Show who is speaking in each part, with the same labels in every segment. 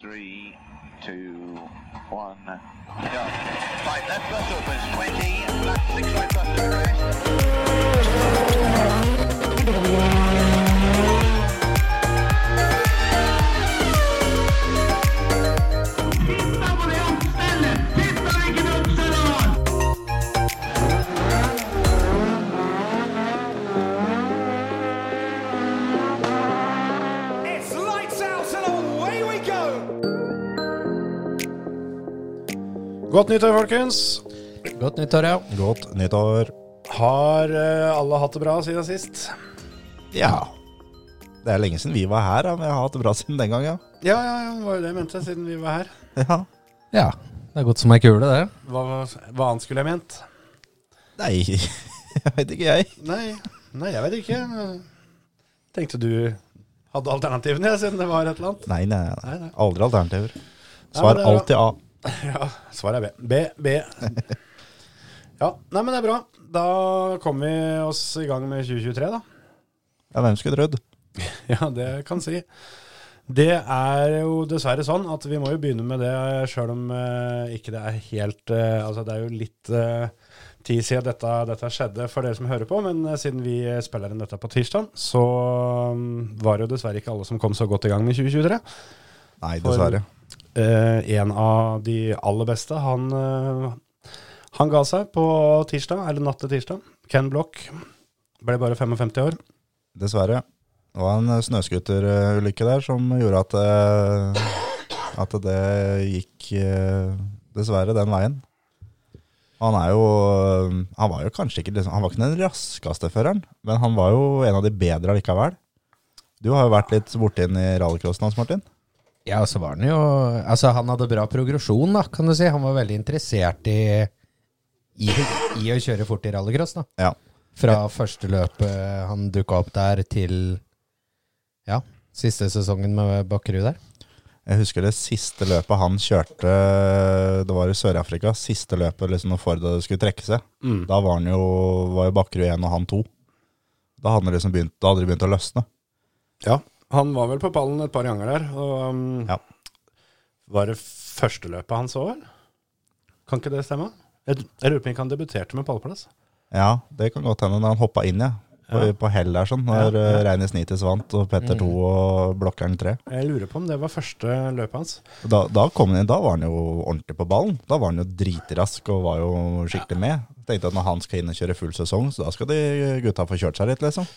Speaker 1: Three, two, one, go. Right, left bus opens 20, left six right bus to arrest.
Speaker 2: It's lights out and away we go!
Speaker 3: Godt nyttår, folkens.
Speaker 4: Godt nyttår, ja.
Speaker 5: Godt nyttår.
Speaker 3: Har eh, alle hatt det bra siden sist?
Speaker 5: Ja. Det er lenge siden vi var her, ja, men jeg har hatt det bra siden den gang, ja.
Speaker 3: Ja, ja, ja, det var jo det jeg mente, siden vi var her.
Speaker 5: ja.
Speaker 4: Ja, det er godt som ei kule, det.
Speaker 3: Hva, hva annet skulle jeg ment?
Speaker 5: Nei, jeg vet ikke jeg.
Speaker 3: Nei, nei, jeg vet ikke. Tenkte du hadde alternativene, ja, siden det var et eller annet.
Speaker 5: Nei, nei,
Speaker 3: Nei,
Speaker 5: nei.
Speaker 3: nei.
Speaker 5: Aldri alternativer.
Speaker 3: men
Speaker 5: Svar
Speaker 3: det er bra.
Speaker 5: alltid A.
Speaker 3: Ja, svaret er B. B, B. Ja, nei, men det er bra. Da kommer vi oss i gang med 2023, da.
Speaker 5: Ja, hvem skulle trodd?
Speaker 3: Ja, det kan si. Det er jo dessverre sånn at vi må jo begynne med det, sjøl om eh, ikke det er helt eh, Altså, det er jo litt eh, tid siden dette, dette skjedde for dere som hører på, men eh, siden vi spiller inn dette på tirsdag, så mm, var det jo dessverre ikke alle som kom så godt i gang med 2023.
Speaker 5: Nei,
Speaker 3: For-
Speaker 5: dessverre.
Speaker 3: Eh, en av de aller beste, han, eh, han ga seg på tirsdag, eller natt til tirsdag. Ken Block. Ble bare 55 år.
Speaker 5: Dessverre. Det var en eh, snøskuterulykke der som gjorde at, eh, at det gikk eh, dessverre den veien. Han er jo eh, Han var jo kanskje ikke liksom, Han var ikke den raskeste føreren, men han var jo en av de bedre allikevel. Du har jo vært litt borti den i rallycrossen hans, Martin.
Speaker 4: Ja, så var han jo Altså, han hadde bra progresjon, da, kan du si. Han var veldig interessert i, i, i å kjøre fort i rallycross, da.
Speaker 5: Ja.
Speaker 4: Fra første løpet han dukka opp der, til ja, siste sesongen med Bakkerud der.
Speaker 5: Jeg husker det siste løpet han kjørte, det var i Sør-Afrika. Siste løpet liksom når Ford skulle trekke seg. Da var, han jo, var jo Bakkerud én og han to. Da hadde, han liksom begynt, da hadde det begynt å løsne.
Speaker 3: Ja, han var vel på pallen et par ganger der. Og, um,
Speaker 5: Ja.
Speaker 3: Var det første løpet han så, vel? Kan ikke det stemme? Jeg jeg lurer på om ikke han debuterte med pallplass.
Speaker 5: Ja, det kan godt hende når han hoppa inn, ja. På, på hell der, sånn. Når ja, Mm. Reine Snitis vant, og Petter 2 og Blokkeren 3.
Speaker 3: Jeg lurer på om det var første løpet hans.
Speaker 5: Da, da kom han inn, da var han jo ordentlig på ballen. Da var han jo dritrask og var jo skikkelig med. Tenkte at når han skal inn og kjøre full sesong, så da skal de gutta få kjørt seg litt, liksom.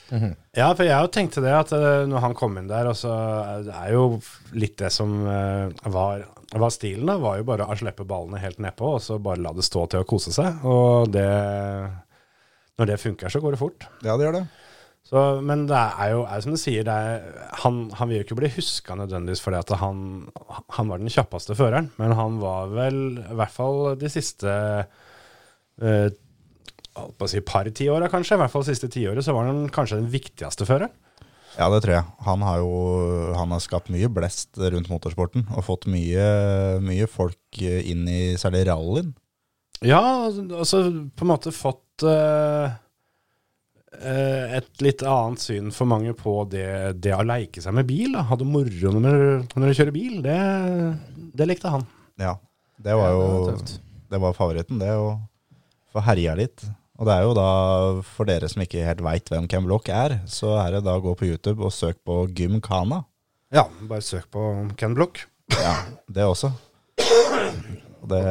Speaker 3: Ja, for jeg jo tenkte det, at eh, når han kom inn der, og så er det er jo litt det som eh, var, var stilen, da, var jo bare å slippe ballene helt nedpå, og så bare la det stå til å kose seg. Og det Når det funker, så går det fort.
Speaker 5: Ja, det gjør det.
Speaker 3: Så, men det er jo er som du sier, det er, han, han vil jo ikke bli huska nødvendigvis fordi at han, han var den kjappeste føreren, men han var vel i hvert fall de siste eh, holdt på å si par tiåra, kanskje. I hvert fall det siste tiåret så var han kanskje den viktigste føreren.
Speaker 5: Ja, det tror jeg. Han har jo han har skapt mye blest rundt motorsporten og fått mye, mye folk eh, inn i særlig rallyen.
Speaker 3: Ja, altså på en måte fått eh, eh, et litt annet syn for mange på det, det å leike seg med bil. Da. Ha det moro når, når du kjører bil. Det, det likte han.
Speaker 5: Ja, det var jo det var favoritten, det. å få herja litt. Og det er jo da, for dere som ikke helt veit hvem Ken Block er, så er det da å gå på YouTube og søk på Gymkhana.
Speaker 3: Ja, bare søk på Ken Block.
Speaker 5: Ja, det også. Og Det,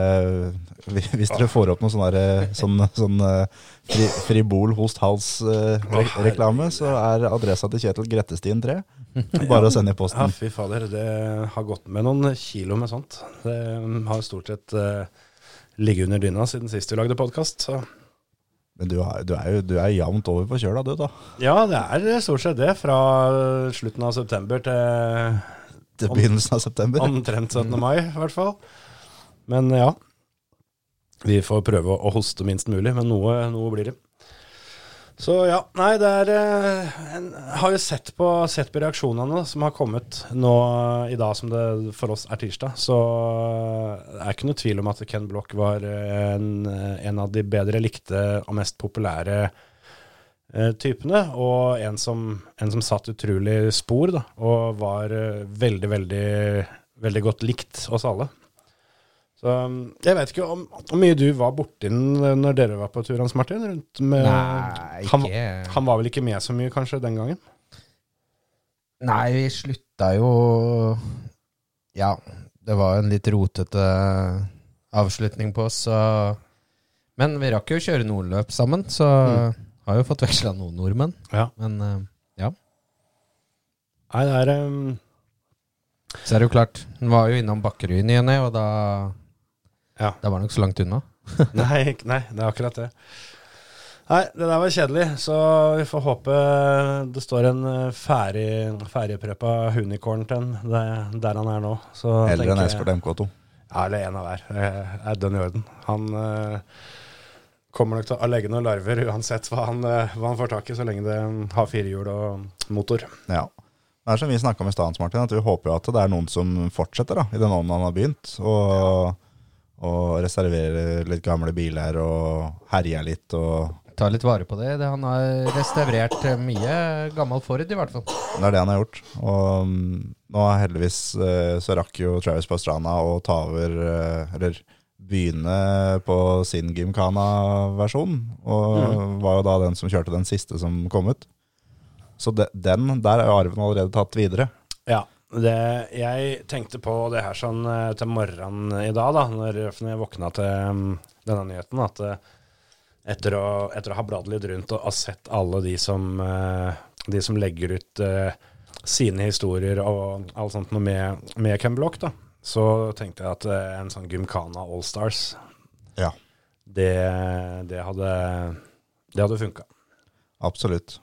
Speaker 5: hvis dere får opp noe sånn der, sånn, sånn eh, fri, Fribol host hals-reklame, så er adressa til Kjetil Grettestien 3. Bare å sende i
Speaker 3: Ja,
Speaker 5: posten.
Speaker 3: fy fader, det har gått med noen kilo med sånt. Det um, har stort sett eh, ligget under dyna siden sist vi lagde podkast.
Speaker 5: Men du, har- du er jo du er jevnt over på kjøla, du, da.
Speaker 3: Ja, det er stort sett det. Fra eh, slutten av september til
Speaker 5: Til begynnelsen av september.
Speaker 3: omtrent 17. mai, i hvert fall. Men ja. Vi får prøve å- å hoste minst mulig, men noe, noe blir det. Så ja, nei, det er eh, En har jo sett på, sett på reaksjonene som har kommet nå eh, i dag, som det for oss er tirsdag. Så det er ikke noe tvil om at Ken Block var eh, en, en av de bedre likte og mest populære eh, typene. Og en som, en som satt utrolig spor, da, og var eh, veldig, veldig veldig godt likt oss alle. Så um, jeg vet ikke om hvor mye du var borti den når dere var på tur, Hans Martin? Rundt
Speaker 5: Eh,
Speaker 3: med,
Speaker 4: Nei, ikke
Speaker 3: han, han var vel ikke med så mye kanskje den gangen?
Speaker 4: Nei, vi slutta jo Ja, det var en litt rotete avslutning på oss, så Men vi rakk jo å kjøre noen løp sammen, så har jo fått veksla noen nordmenn.
Speaker 3: Mm. Ja.
Speaker 4: Men eh, ja.
Speaker 3: Nei, det er um,
Speaker 4: Så er det jo klart, den var jo innom Bakkerud i ny og ne, og da
Speaker 3: Ja.
Speaker 4: Da var den ikke så langt unna.
Speaker 3: nei, ikke- nei, det er akkurat det. Nei, det der var kjedelig, så vi får håpe det står en eh, ferdig ferdigpreppa unicorn til en der, der han er nå. Så
Speaker 5: Eller en
Speaker 3: tenker jeg-
Speaker 5: Escort MK2.
Speaker 3: Ja, eller en av hver. Det er dønn i orden. Han eh, kommer nok til å legge noen larver uansett hva han, eh, hva han får tak i, så lenge det mm, har firehjul og motor.
Speaker 5: Ja. Det er som vi snakka om i stad, Hans Martin, at vi håper jo at det er noen som fortsetter da, i den ånden han har begynt, og, og reserverer litt gamle biler og herjer litt. Og
Speaker 4: Ta litt vare på det. det han har restaurert mye gammel Ford, i hvert fall.
Speaker 5: det er det han har gjort. Og mm, nå er heldigvis eh, så rakk jo Travis Pastrana å ta over, eh, eller begynne på sin Gymkhana-versjon, og var jo da den som kjørte den siste som kom ut. Så de, den, der er jo arven allerede tatt videre.
Speaker 3: Ja, det, jeg tenkte på det her sånn eh, til morgenen i dag, da, når, når jeg våkna til mm, denne nyheten, at eh, etter å, etter å ha bladd litt rundt og ha sett alle de som, eh, de som legger ut eh, sine historier og alt sånt noe med, med Ken Block, da, så tenkte jeg at eh, en sånn Gymkhana Allstars,
Speaker 5: Ja.
Speaker 3: det, det hadde, det hadde funka.
Speaker 5: Absolutt.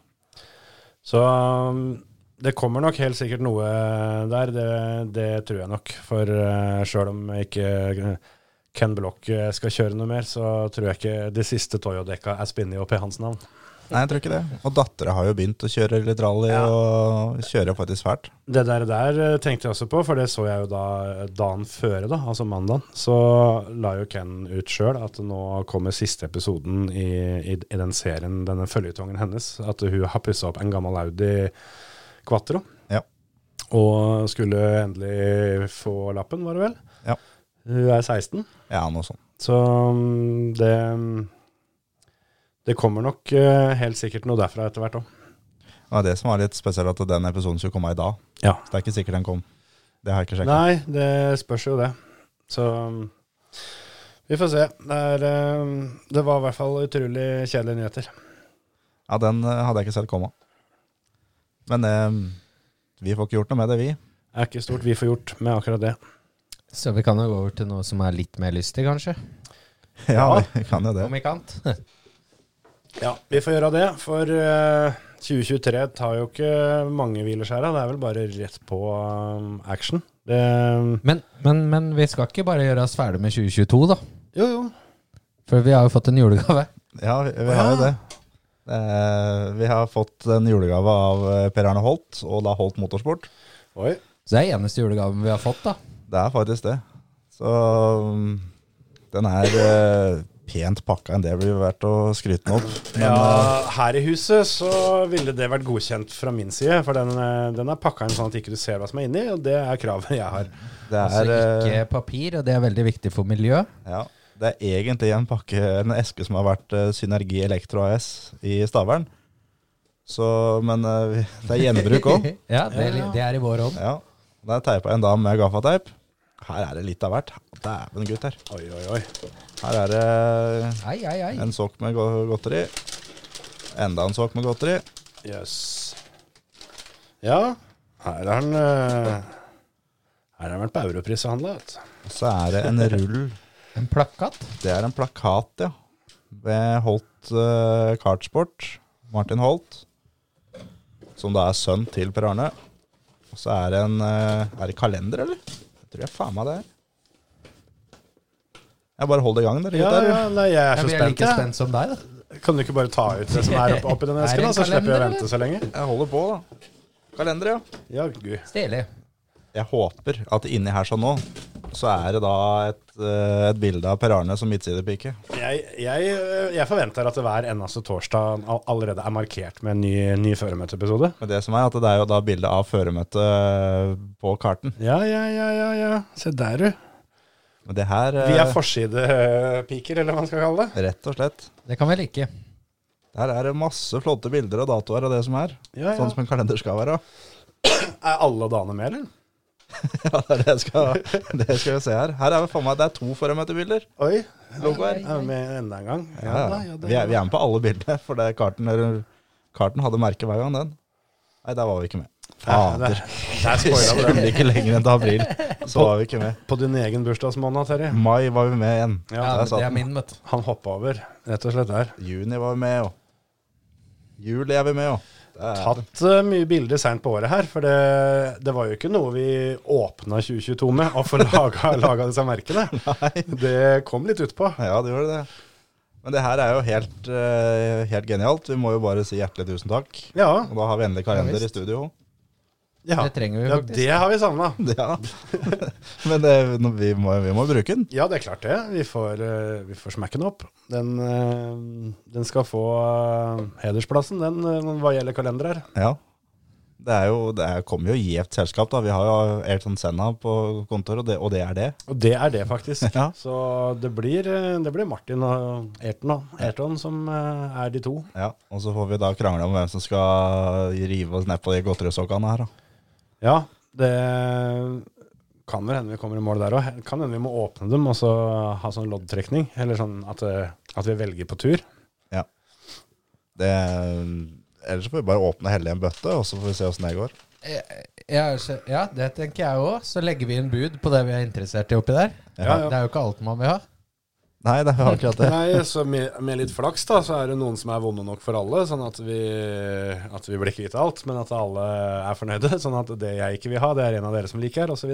Speaker 3: Så um, det kommer nok helt sikkert noe der, det, det tror jeg nok. For uh, sjøl om ikke eh, Ken Block eh, skal kjøre noe mer, så tror jeg ikke de siste Toyo-dekka er spinnet opp i hans navn.
Speaker 5: Nei, jeg tror ikke det. Og dattera har jo begynt å kjøre litt rally,
Speaker 3: Ja.
Speaker 5: og kjører faktisk fælt.
Speaker 3: Det der, der eh, tenkte jeg også på, for det så jeg jo da eh, dagen før, da, altså mandagen. Så la jo Ken ut sjøl at nå kommer siste episoden i, i, i den serien, denne føljetongen hennes. At hun har pussa opp en gammel Audi Quatro.
Speaker 5: Ja.
Speaker 3: Og skulle endelig få lappen, var det vel?
Speaker 5: Ja.
Speaker 3: Hun er 16,
Speaker 5: Ja, noe sånt.
Speaker 3: så mm, det mm, Det kommer nok eh, helt sikkert noe derfra etter hvert òg.
Speaker 5: Det var det som var litt spesielt, at den episoden skulle komme i dag.
Speaker 3: Ja.
Speaker 5: Så det er ikke sikkert den kom. Det har jeg ikke sjekka.
Speaker 3: Nei, det spørs jo det. Så um, vi får se. Det, er, um, det var i hvert fall utrolig kjedelige nyheter.
Speaker 5: Ja, den eh, hadde jeg ikke sett komme. Men eh, vi får ikke gjort noe med det, vi.
Speaker 3: Det er ikke stort vi får gjort med akkurat det.
Speaker 4: Så vi kan jo gå over til noe som er litt mer lystig, kanskje.
Speaker 5: Ja,
Speaker 3: Ja.
Speaker 5: vi kan jo det.
Speaker 4: Om ikke annet.
Speaker 3: Ja, vi får gjøre det, for uh, 2023 tar jo ikke mange hvileskjæra. Det er vel bare rett på um, action. Det, um,
Speaker 4: Men, men, men vi skal ikke bare gjøre oss ferdig med 2022, da.
Speaker 3: jo, jo.
Speaker 4: For vi har jo fått en julegave.
Speaker 5: Ja, vi, vi har jo det. Eh, vi har fått en julegave av eh, Per Arne Holt, og da Holt Motorsport.
Speaker 3: Oi.
Speaker 4: Så det er eneste julegaven vi har fått, da.
Speaker 5: Det er faktisk det. Så mm, den er eh, pent pakka enn det blir verdt å skryte den opp. Men,
Speaker 3: Ja, her i huset så ville det vært godkjent fra min side, for den, eh, den er pakka inn sånn at ikke du ser hva som er inni, og det er kravet jeg har.
Speaker 5: Det
Speaker 4: Så
Speaker 5: er, eh,
Speaker 4: Altså, ikke papir, og det er veldig viktig for miljø.
Speaker 5: ja, det er egentlig en pakke, en eske som har vært eh, Synergi Elektro AS i Stavern. Så, men eh, vi- det er gjenbruk òg.
Speaker 4: ja, det, det er i vår ånd.
Speaker 5: Ja. Der teipa jeg en dam med gaffateip. Her er det litt av hvert. Dæven, gutter.
Speaker 3: Oi, oi, oi.
Speaker 5: Her er det
Speaker 4: Ei, ei, ei.
Speaker 5: en sokk med go- godteri. Enda en sokk med godteri.
Speaker 3: Jøss. Ja, her har han eh, Her har han vært på Europris og handla, vet du.
Speaker 5: Så er det en rull.
Speaker 4: En plakat.
Speaker 5: Det er en plakat, ja. Ved Holt eh, Kartsport. Martin Holt. Som da er sønn til Per Arne. Og så er det en eh, Er det kalender, eller? Jeg tror jeg faen meg det er. Jeg bare holder i gang, dere
Speaker 3: Ja,
Speaker 5: gutter.
Speaker 3: ja, nei, eh, jeg er
Speaker 4: Ja,
Speaker 3: så
Speaker 4: vi er
Speaker 3: spent,
Speaker 4: like
Speaker 3: jeg.
Speaker 4: spent som deg, da.
Speaker 3: Kan du ikke bare ta ut det som er opp- oppi den
Speaker 4: Er det
Speaker 3: esken, da,
Speaker 4: en
Speaker 3: så slipper vi å
Speaker 4: kalender,
Speaker 3: vente så lenge?
Speaker 5: Jeg holder på, da. Kalender, ja.
Speaker 3: Ja, gud.
Speaker 4: Stilig.
Speaker 5: Jeg håper at inni her sånn nå, så er det da et, eh, et bilde av Per Arne som midtsidepike.
Speaker 3: Jeg, jeg, eh, jeg forventer at hver eneste torsdag all- allerede er markert med en ny, ny føremøteepisode.
Speaker 5: Men det som er at det er jo da bilde av føremøtet på karten.
Speaker 3: Ja, ja, ja, ja, ja. Se der, du.
Speaker 5: Men det her eh,
Speaker 3: Vi er forsidepiker, eller hva man skal kalle det.
Speaker 5: Rett og slett.
Speaker 4: Det kan vi like.
Speaker 5: Der er det masse flotte bilder og datoer av det som er.
Speaker 3: Ja, ja.
Speaker 5: Sånn som en kalender skal være.
Speaker 3: Er alle dagene med, eller?
Speaker 5: Ja, det, er det, jeg skal, det skal vi se her. Her er det faen meg det er to føremøtebilder.
Speaker 3: Oi,
Speaker 5: Logoer.
Speaker 3: er vi med enda en gang?
Speaker 5: Ja,
Speaker 3: da,
Speaker 5: ja.
Speaker 3: det-
Speaker 5: Vi, er, vi er med på alle bildene, for det karten, er- karten hadde merke hver gang, den. Nei, der var vi ikke med.
Speaker 3: Ja, det-
Speaker 5: Fader.
Speaker 3: Der
Speaker 5: Vi
Speaker 3: spoila du
Speaker 5: skulle
Speaker 3: den.
Speaker 5: ikke lenger enn til april, så var vi ikke med.
Speaker 3: På din egen bursdagsmåned, Terje.
Speaker 5: Mai var vi med igjen.
Speaker 3: Ja,
Speaker 4: Ja,
Speaker 5: Der
Speaker 4: men
Speaker 5: satt
Speaker 4: det
Speaker 5: den.
Speaker 4: er min, vet du.
Speaker 3: Han hoppa over, rett og slett der.
Speaker 5: Juni var vi med, og juli er vi med, og Det er-
Speaker 3: Tatt eh, mye bilder seint på året her, for det, det var jo ikke noe vi åpna 2022 med å få laga, laga disse merkene. Det kom litt utpå.
Speaker 5: Ja, det gjorde det. Men det her er jo helt, eh, helt genialt. Vi må jo bare si hjertelig tusen takk.
Speaker 3: Ja,
Speaker 5: Og da har vi endelig kalender i studio.
Speaker 3: ja.
Speaker 4: Det trenger vi
Speaker 3: ja,
Speaker 4: faktisk.
Speaker 3: det har vi savna.
Speaker 5: Ja. Men det, vi, må, vi må bruke den.
Speaker 3: Ja, det er klart det. Vi får, eh, vi får smekke den opp. Den, eh, den skal få eh, hedersplassen, den, eh, hva gjelder kalender her.
Speaker 5: Ja. Det, er jo, det er, kommer jo gjevt selskap, da. Vi har jo Ayrton Senna på kontoret, og det, og det er det.
Speaker 3: Og det er det, faktisk.
Speaker 5: Ja.
Speaker 3: Så det blir, eh, det blir Martin og Ayrton, da. Ayrton som eh, er de to.
Speaker 5: Ja. Og så får vi da krangle om hvem som skal rive oss nedpå de godterisokkene her, da.
Speaker 3: Ja, det kan vel hende vi kommer i mål der òg. Kan hende vi må åpne dem og så ha sånn loddtrekning. Eller sånn at, eh, at vi velger på tur.
Speaker 5: Ja. Det, ellers så får vi bare åpne hellig en bøtte, og så får vi se åssen det går.
Speaker 4: Ja, Eh, så- ja, det tenker jeg òg. Så legger vi inn bud på det vi er interessert i oppi der.
Speaker 3: Ja, ja.
Speaker 4: Det er jo ikke alt man vil ha.
Speaker 5: Nei, det er jo akkurat det.
Speaker 3: Nei, så med, med litt flaks da, så er det noen som er vonde nok for alle, sånn at vi, at vi blir kvitt alt, men at alle er fornøyde. Sånn at det jeg ikke vil ha, det er en av dere som liker, osv.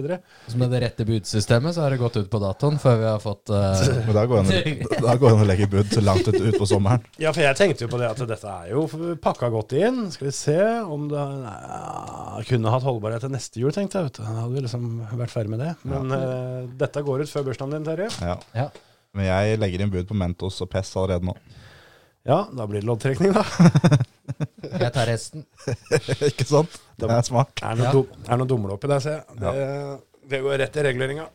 Speaker 4: Så med det rette budsystemet så har det gått ut på datoen før vi har fått eh,
Speaker 5: Men da går det an å- da går det an å legge bud så langt ut, ut på sommeren.
Speaker 3: Ja, for jeg tenkte jo på det at dette er jo pakka godt inn. Skal vi se om det ja, kunne hatt holdbarhet til neste jul, tenkte jeg. Vet du. Da hadde vi liksom vært ferdig med det. Men eh, dette går ut før bursdagen din, Terje.
Speaker 5: Ja.
Speaker 4: Ja.
Speaker 5: Men jeg legger inn bud på Mentos og Pess allerede nå.
Speaker 3: Ja, da blir det loddtrekning, da.
Speaker 4: Jeg tar resten.
Speaker 5: Ikke sant? Det er smart.
Speaker 3: Er det noe,
Speaker 4: Ja.
Speaker 3: dum- er det noe dumle oppi der, ser jeg. Det, det går rett i reguleringa.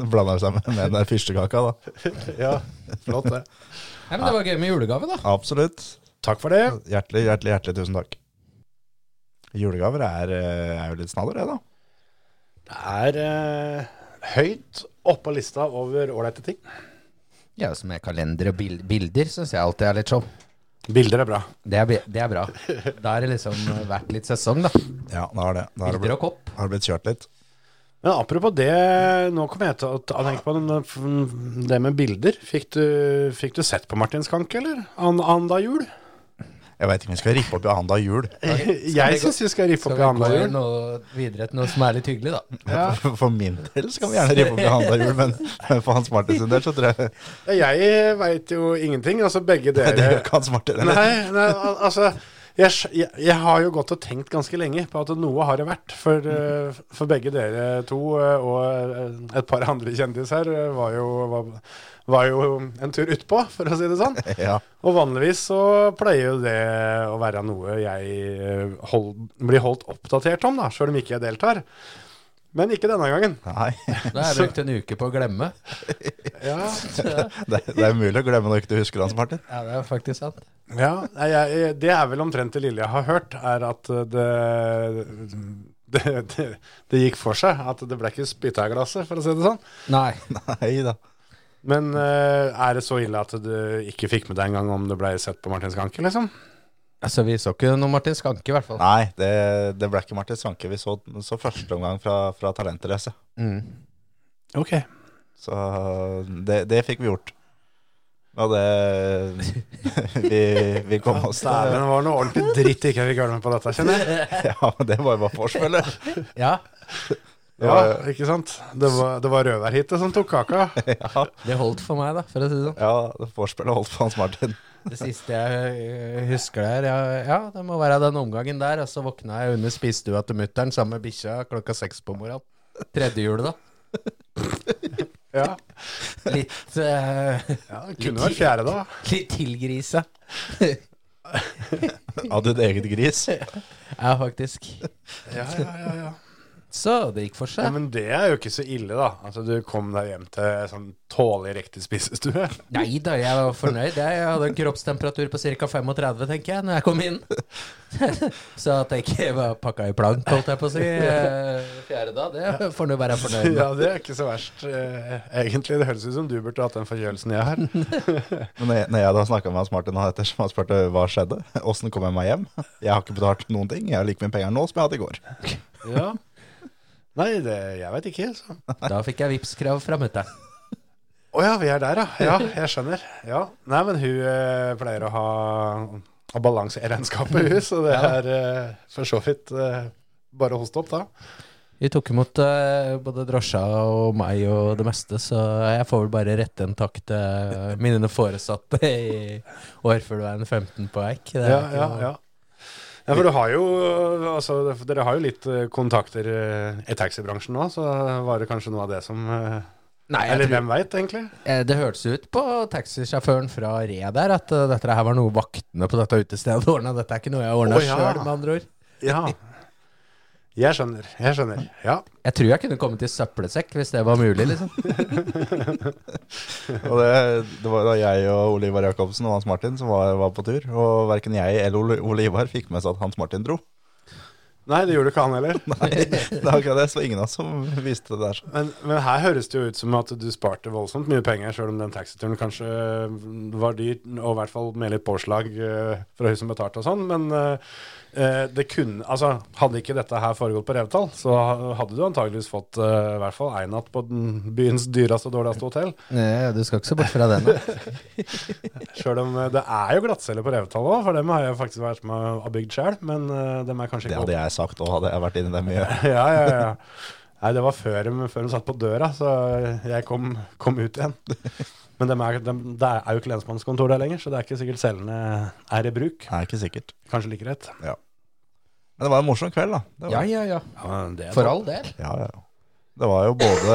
Speaker 5: Blander seg med, med den der fyrstekaka, da.
Speaker 3: Ja, flott det.
Speaker 4: Nei, men det var gøy med julegave, da.
Speaker 5: Absolutt.
Speaker 3: Takk for det.
Speaker 5: Hjertelig, hjertelig, hjertelig tusen takk. Julegaver er, eh, er jo litt snadder, det, da.
Speaker 3: Det er eh, høyt oppå lista over ålreite ting.
Speaker 4: Ja, som med kalender og bil bilder syns jeg alltid er litt show.
Speaker 3: Bilder er bra.
Speaker 4: Det er, bi- det er bra. Da har det liksom vært litt sesong, da.
Speaker 5: Ja, da har det, da har det,
Speaker 4: Bilder
Speaker 5: blitt,
Speaker 4: og kopp.
Speaker 5: har det blitt kjørt litt.
Speaker 3: Men apropos det, nå kom jeg til å ta- tenke på den, eh, det med bilder. Fikk du, fikk du sett på Martin Skanke, eller? An, anda jul?
Speaker 5: Jeg veit ikke om vi skal rippe opp i handa jul.
Speaker 3: Jeg syns vi skal rippe
Speaker 4: Skal
Speaker 3: opp i
Speaker 4: vi gå
Speaker 3: anda jul.
Speaker 4: noe videre til noe som er litt hyggelig, da?
Speaker 5: For, for min del skal vi gjerne rippe opp i handa jul, men men for Hans Martin sin del så tror jeg
Speaker 3: Jeg veit jo ingenting. Altså, begge dere
Speaker 5: Det gjør ikke Hans Martin. eller?
Speaker 3: Nei, nei, al- altså jeg, skj- jeg, jeg har jo gått og tenkt ganske lenge på at noe har det vært. For, eh, for begge dere to eh, og eh, et par andre kjendiser eh, var jo, var, var jo en tur utpå, for å si det sånn.
Speaker 5: Ja.
Speaker 3: Og vanligvis så pleier jo det å være noe jeg eh, hold, blir holdt oppdatert om, da, sjøl om ikke jeg deltar. Men ikke denne gangen.
Speaker 5: Nei.
Speaker 4: Da har jeg brukt en uke på å glemme.
Speaker 3: Ja,
Speaker 5: Det, det er umulig å glemme når ikke du husker Hans Martin.
Speaker 4: Ja, det er faktisk sant.
Speaker 3: ja nei, jeg, Det er vel omtrent det lille jeg har hørt, er at eh, det det, det, det gikk for seg at det ble ikke spytta i glasset, for å si det sånn.
Speaker 4: Nei.
Speaker 5: Nei da.
Speaker 3: Men eh, er det så ille at du ikke fikk med deg engang om det ble sett på Martin Skanke, liksom?
Speaker 4: Altså, vi så ikke noe Martin Skanke, i hvert fall.
Speaker 5: Nei, det, det ble ikke Martin Svanke. Vi så, så første omgang fra, fra Talentrace.
Speaker 4: Mm.
Speaker 3: Ok.
Speaker 5: Så det, det fikk vi gjort. Og det Vi, vi kom oss
Speaker 3: Dæven,
Speaker 5: der.
Speaker 3: det var noe ordentlig dritt ikke jeg fikk høre med på dette, kjenner jeg.
Speaker 5: Ja, men det var jo bare forspillet.
Speaker 4: Ja,
Speaker 5: Det
Speaker 3: Ja,
Speaker 5: var-
Speaker 3: ikke sant? Det var, det var røverhitet som tok kaka.
Speaker 5: Ja,
Speaker 4: det holdt for meg, da, for å si det sånn.
Speaker 5: ja det forspillet holdt for Hans Martin.
Speaker 4: Det siste jeg øh, husker der, ja, ja, det må være den omgangen der. Og så våkna jeg under spisestua til mutter'n sammen med bikkja klokka seks på morgenen. Tredjehjulet, da.
Speaker 3: Ja,
Speaker 4: Litt, eh,
Speaker 3: det kunne vært fjerde, da.
Speaker 4: litt tilgrisa.
Speaker 5: Av ditt eget gris?
Speaker 4: Ja, faktisk.
Speaker 3: Ja, ja, ja, ja.
Speaker 4: Så det gikk for
Speaker 3: ja,
Speaker 4: seg.
Speaker 3: Men det er jo ikke så ille, da. Altså, du kom deg hjem til sånn tålelig riktig spisestue.
Speaker 4: Nei da, jeg var fornøyd. Jeg Jeg hadde en kroppstemperatur på ca. 35, tenker jeg, når jeg kom inn. Så at jeg ikke var pakka i plank, holdt jeg på å si. eh, Fjerde da, det får du være fornøyd med.
Speaker 3: Ja, det er ikke så verst, eh, egentlig. Det høres ut som du burde hatt den forkjølelsen jeg har.
Speaker 5: Men når jeg, når jeg da snakka med Hans Martin og etter, som han spurte hva skjedde, åssen kom jeg meg hjem? Jeg har ikke betalt noen ting. Jeg har like mye penger nå som jeg hadde i går.
Speaker 3: Ja. Nei, det, jeg veit ikke. Så.
Speaker 4: Da fikk jeg Vipps-krav fra mutter'n.
Speaker 3: Å ja, vi er der, ja. Ja, jeg skjønner. Ja. Nei, men hun eh, pleier å ha, ha balanse i regnskapet, hun, så det er eh, for så vidt eh, bare å hoste opp, da.
Speaker 4: Vi tok imot eh, både drosja og meg og det meste, så jeg får vel bare rette en takk til mine foresatte i Årfuglveien 15 på Eik. Det er
Speaker 3: Ja,
Speaker 4: ikke
Speaker 3: ja,
Speaker 4: noe-
Speaker 3: ja. Ja, for du har jo, altså, Dere har jo litt eh, kontakter eh, i taxibransjen nå, så var det kanskje noe av det som eh,
Speaker 4: Nei, jeg
Speaker 3: Eller
Speaker 4: tror,
Speaker 3: hvem veit, egentlig?
Speaker 4: eh, det hørtes ut på taxisjåføren fra Re der at eh, dette her var noe vaktene på dette utestedet ordna. Dette er ikke noe jeg ordna
Speaker 3: Å, ja.
Speaker 4: sjøl, med andre ord.
Speaker 3: Ja. Jeg skjønner. Jeg skjønner. Ja.
Speaker 4: Jeg tror jeg kunne kommet i søppelsekk hvis det var mulig, liksom.
Speaker 5: Og det, det var da jeg og Ole Ivar Jacobsen og Hans Martin som var, var på tur. Og verken jeg eller Ole, Ole Ivar fikk med seg at Hans Martin dro.
Speaker 3: Nei, det gjorde ikke han heller.
Speaker 5: Nei, det er akkurat det. Så ingen av oss som visste det der.
Speaker 3: Men, men her høres det jo ut som at du sparte voldsomt mye penger, sjøl om den taxituren kanskje var dyr, og i hvert fall med litt påslag eh, fra hun som betalte og sånn. Men eh, eh, det kunne Altså, hadde ikke dette her foregått på Revetal, så hadde du antageligvis fått eh, i hvert fall én natt på den byens dyreste og dårligste hotell.
Speaker 4: Nei, du skal ikke se bort fra det nå.
Speaker 3: Sjøl om eh, det er jo glattceller på Revetal òg, for dem har jeg faktisk vært med og bygd sjøl, men eh, dem er kanskje
Speaker 5: Det
Speaker 3: ikke
Speaker 5: hadde jeg sagt òg, hadde jeg vært inni det mye.
Speaker 3: ja, ja, ja. Nei, det var før de, før de satt på døra, så jeg kom, kom ut igjen. Men dem er, dem, det er jo ikke lensmannskontor der lenger, så det er ikke sikkert cellene er i bruk.
Speaker 5: Det er ikke sikkert.
Speaker 3: Kanskje like rett.
Speaker 5: Men det var en morsom kveld, da. Det var,
Speaker 4: Ja, ja, ja.
Speaker 3: det
Speaker 4: For all del.
Speaker 5: Ja, ja, ja. Det var jo både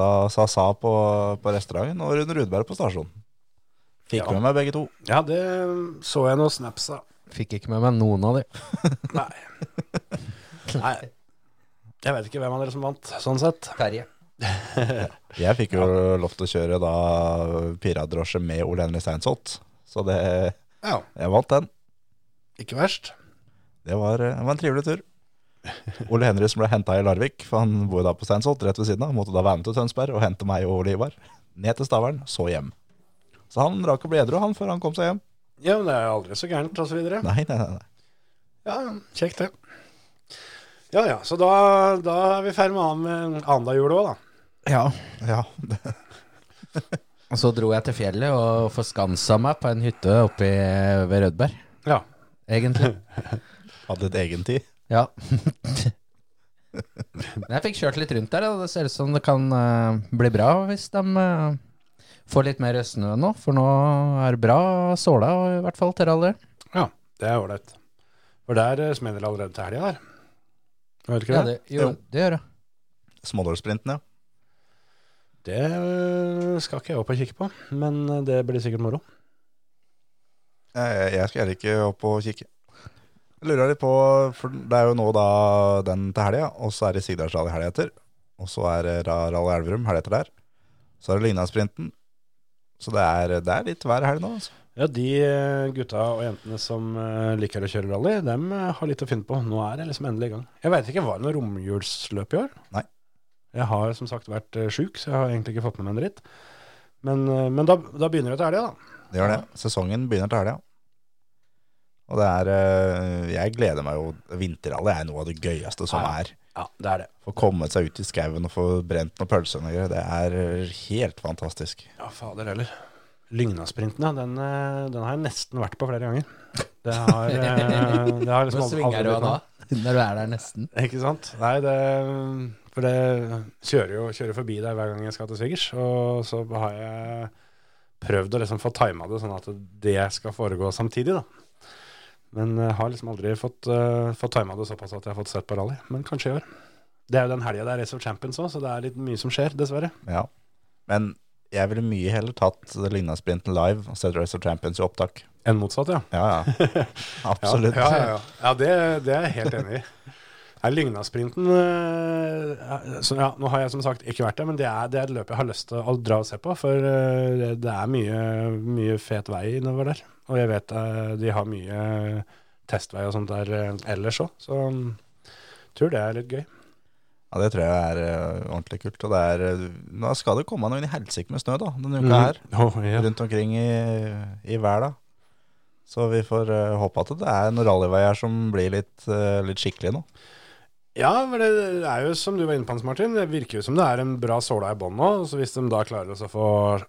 Speaker 5: da Sasa på, på restauranten og Rune Rudberg på stasjonen. Fikk
Speaker 3: Ja.
Speaker 5: med meg begge to.
Speaker 3: Ja, det så jeg noen snaps av.
Speaker 4: Fikk ikke med meg noen av de.
Speaker 3: Nei. Nei. Jeg vet ikke hvem av dere som vant, sånn sett.
Speaker 4: Terje.
Speaker 5: Jeg fikk jo lov til å kjøre da piradrosje med Ole Henry Steinsholt, så det,
Speaker 3: Ja,
Speaker 5: jeg vant den.
Speaker 3: ikke verst.
Speaker 5: Det var, det var en trivelig tur. Ole Henry som ble henta i Larvik, for han bor jo da på Steinsholt rett ved siden av, måtte da være med til Tønsberg og hente meg og Ole Ivar. Ned til Stavern, så hjem. Så han rakk å bli edru, han, før han kom seg hjem.
Speaker 3: Ja, men det er aldri så gærent, og så videre.
Speaker 5: Nei, nei, nei. nei.
Speaker 3: Ja, ja, kjekt det. Ja, ja, så da, da er vi ferdig med annen- annendagjula òg, da.
Speaker 4: Ja.
Speaker 5: Ja, det,
Speaker 4: Og så dro jeg til fjellet og forskansa meg på en hytte oppe i- ved Rødberg,
Speaker 3: Ja.
Speaker 4: egentlig.
Speaker 5: hadde litt egen tid.
Speaker 4: Ja. Men jeg fikk kjørt litt rundt der, og det ser ut som det kan eh, bli bra hvis de eh, får litt mer snø nå. For nå er det bra såla, og i hvert fall til rally.
Speaker 3: Ja, det er ålreit. For der eh, smeller det allerede til helga her. Vet du ikke
Speaker 4: Ja,
Speaker 3: det?
Speaker 4: det, jo, det gjør det.
Speaker 5: Smådårssprinten, ja.
Speaker 3: Det eh, skal ikke jeg opp og kikke på, men eh, det blir sikkert moro.
Speaker 5: Jeg, jeg skal heller ikke opp og kikke. Jeg lurer litt på, for det er jo nå da den til helga, og så er det Sigdalsrally helga etter. Og så er det Ra- Rally Elverum helga etter der. Så er det Lygnasprinten. Så det er, det er litt hver helg nå, altså.
Speaker 3: Ja, de eh, gutta og jentene som eh, liker å kjøre rally, dem eh, har litt å finne på. Nå er det liksom endelig i gang. Jeg veit ikke, var det noe romjulsløp i år?
Speaker 5: Nei.
Speaker 3: Jeg har som sagt vært eh, sjuk, så jeg har egentlig ikke fått med meg en dritt. Men, eh, men da, da begynner det til helga, da.
Speaker 5: Det gjør det. Sesongen begynner til helga. Og det er eh, Jeg gleder meg jo. Vinterrally er noe av det gøyeste som
Speaker 3: Ja.
Speaker 5: er.
Speaker 3: Ja, det er det.
Speaker 5: Få komme seg ut i skauen og få brent noen pølser og noe greier. Det er eh, helt fantastisk.
Speaker 3: Ja, fader heller. Lygnasprinten, ja. Den, eh, den har jeg nesten vært på flere ganger. Det har, eh, det har liksom
Speaker 4: Nå
Speaker 3: aldri-
Speaker 4: svinger
Speaker 3: aldri blitt
Speaker 4: du av da,
Speaker 3: noe.
Speaker 4: når du er der nesten.
Speaker 3: Ikke sant? Nei, det For det kjører jo kjører forbi der hver gang jeg skal til svigers. Og så har jeg prøvd å liksom få tima det sånn at det skal foregå samtidig, da. eh, Men jeg har liksom aldri fått, uh, fått tima det såpass at jeg har fått sett på rally. Men kanskje i år. Det er jo den helga det er Race of Champions òg, så det er litt mye som skjer, dessverre.
Speaker 5: Ja. Men jeg ville mye heller tatt Ligna sprinten live og sett Race of Champions i opptak.
Speaker 3: Enn motsatt, ja.
Speaker 5: Ja, ja. Absolutt.
Speaker 3: Ja, ja, ja. ja det, det er jeg helt enig i. Nei, Lygnasprinten eh, så, ja, Nå har jeg som sagt ikke vært der, men det er, det er et løp jeg har lyst til å dra og se på. For eh, det, det er mye, mye fet vei innover der. Og jeg vet eh, de har mye testvei og sånt der eh, ellers òg, så mm, tror det er litt gøy.
Speaker 5: Ja, Det tror jeg er eh, ordentlig kult. Og det er, eh, nå skal det komme noen i helsike med snø da, denne uka her.
Speaker 3: Mm. Åh, Mhm. ja.
Speaker 5: Rundt omkring i, i verden. Så vi får eh, håpe at det er noen rallyveier som blir litt, eh, litt skikkelig nå.
Speaker 3: Ja, for det er jo som du var inne på, Hans Martin. Det virker jo som det er en bra såla i bånn nå. Så hvis de da klarer å så få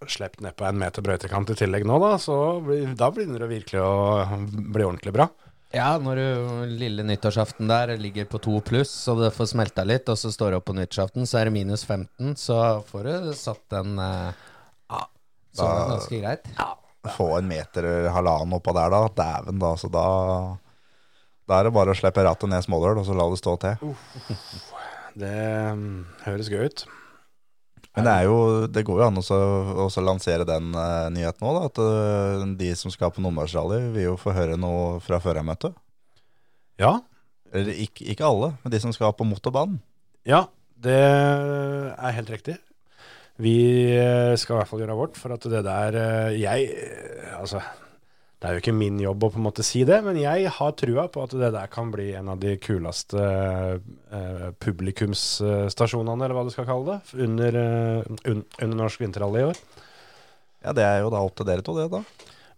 Speaker 3: sluppet nedpå en meter brøytekant i tillegg nå, da, så blir, da begynner det virkelig å bli ordentlig bra.
Speaker 4: Ja, når du lille nyttårsaften der ligger på to pluss, så det får smelta litt, og så står det opp på nyttårsaften, så er det minus 15, så får du satt den eh, sånn er det ganske greit.
Speaker 5: Få en meter eller halvannen oppå der da. Dæven, da. Så da, da er det bare å slippe rattet ned smådøl, og så la det stå til.
Speaker 3: Det mm, høres gøy ut.
Speaker 5: Men det, er jo, det går jo an også også å lansere den eh, nyheten òg, at eh, de som skal på Numedalsrally, vil jo få høre noe fra førermøtet.
Speaker 3: Ja.
Speaker 5: Eller ikke, ikke alle, men de som skal på motorbanen.
Speaker 3: Ja, det er helt riktig. Vi eh, skal i hvert fall gjøre vårt, for at det der eh, Jeg eh, Altså, det er jo ikke min jobb å på en måte si det, men jeg har trua på at det der kan bli en av de kuleste eh, publikumsstasjonene, eller hva du skal kalle det, under, eh, un, under norsk vinterrally i år.
Speaker 5: Ja, det er jo da opp til dere to, det, da.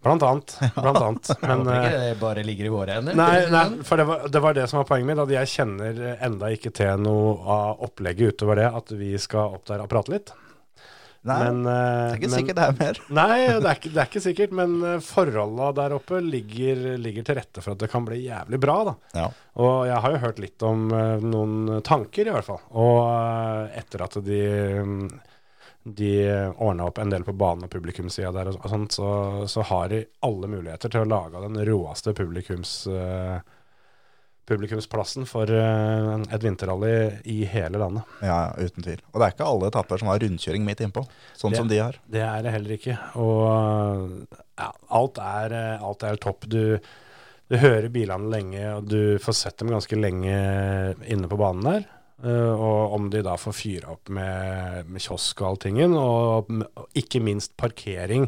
Speaker 3: Blant annet. Blant annet.
Speaker 4: Jeg
Speaker 3: Men
Speaker 4: håper
Speaker 3: eh,
Speaker 4: ikke det bare ligger i våre hender.
Speaker 3: Nei, nei for det var, det var det som var poenget mitt. At jeg kjenner enda ikke til noe av opplegget utover det at vi skal opp der og prate litt.
Speaker 5: Nei,
Speaker 3: Men,
Speaker 5: det
Speaker 3: eh,
Speaker 5: er ikke
Speaker 3: men-
Speaker 5: sikkert det er mer.
Speaker 3: Nei, det er, ikke, det er ikke sikkert. Men eh, forholda der oppe ligger, ligger til rette for at det kan bli jævlig bra, da.
Speaker 5: Ja.
Speaker 3: Og jeg har jo hørt litt om eh, noen tanker, i hvert fall. Og eh, etter at de mm, de ordna opp en del på banen og publikumsida der, og sånt, så, så har de alle muligheter til å lage den råeste publikums, eh, publikumsplassen for eh, et vinterrally i hele landet.
Speaker 5: ja, ja, uten tvil. Og det er ikke alle etapper som har rundkjøring midt innpå, sånn
Speaker 3: Det-
Speaker 5: som de har.
Speaker 3: Det er det heller ikke. Og ja, alt, er, eh, alt er topp. Du, du hører bilene lenge, og du får sett dem ganske lenge inne på banen der. Eh, og om de da får fyra opp med, med kiosk og alltingen, og, m- og ikke minst parkering,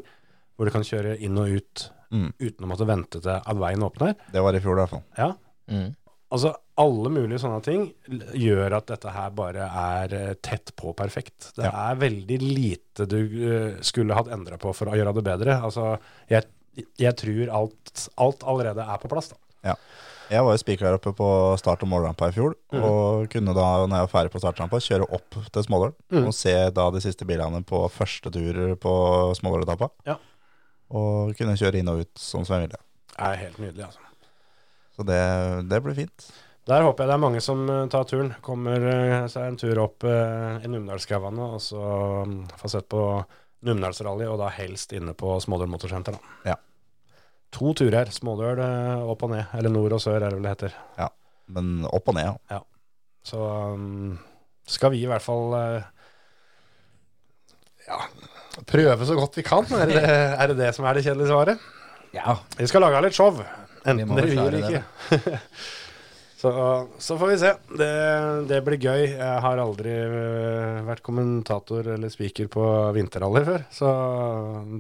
Speaker 3: hvor du kan kjøre inn og ut
Speaker 5: Mm.
Speaker 3: uten å måtte vente til at veien åpner.
Speaker 5: Det var i fjor, i hvert fall.
Speaker 3: Ja,
Speaker 4: Mm.
Speaker 3: Altså, alle mulige sånne ting l- gjør at dette her bare er eh, tett på perfekt. Det
Speaker 5: Ja.
Speaker 3: er veldig lite du eh, skulle hatt endra på for å gjøre det bedre. Altså, jeg, jeg tror alt, alt allerede er på plass, da.
Speaker 5: Jeg var jo spiker oppe på start- og målrampa i fjor, og kunne da, når jeg var ferdig på startrampa, kjøre opp til Smålål og se da de siste bilene på første tur på Smålåletappa.
Speaker 3: Ja.
Speaker 5: Og kunne kjøre inn og ut sånn som jeg ville.
Speaker 3: Det er helt nydelig, altså.
Speaker 5: Så det, det ble fint.
Speaker 3: Der håper jeg det er mange som eh, tar turen. Kommer eh, seg en tur opp eh, i Numedalsskauene og så mm, får sett på Numedalsrally, og da helst inne på Smådøl Motorsenter, da.
Speaker 5: Ja.
Speaker 3: To turer. Smådøl eh, opp og ned. Eller nord og sør, er det vel det heter.
Speaker 5: Men opp og ned, ja.
Speaker 3: Så um, skal vi i hvert fall eh, ja, prøve så godt vi kan. Er det er det, det som er det kjedelige svaret?
Speaker 4: Ja,
Speaker 3: Vi skal lage litt show,
Speaker 4: Vi
Speaker 3: enten
Speaker 4: må
Speaker 3: det
Speaker 4: vel
Speaker 3: vil
Speaker 4: klare
Speaker 3: eller
Speaker 4: det,
Speaker 3: ikke. så, så får vi se. Det, det blir gøy. Jeg har aldri eh, vært kommentator eller speaker på vinterrally før, så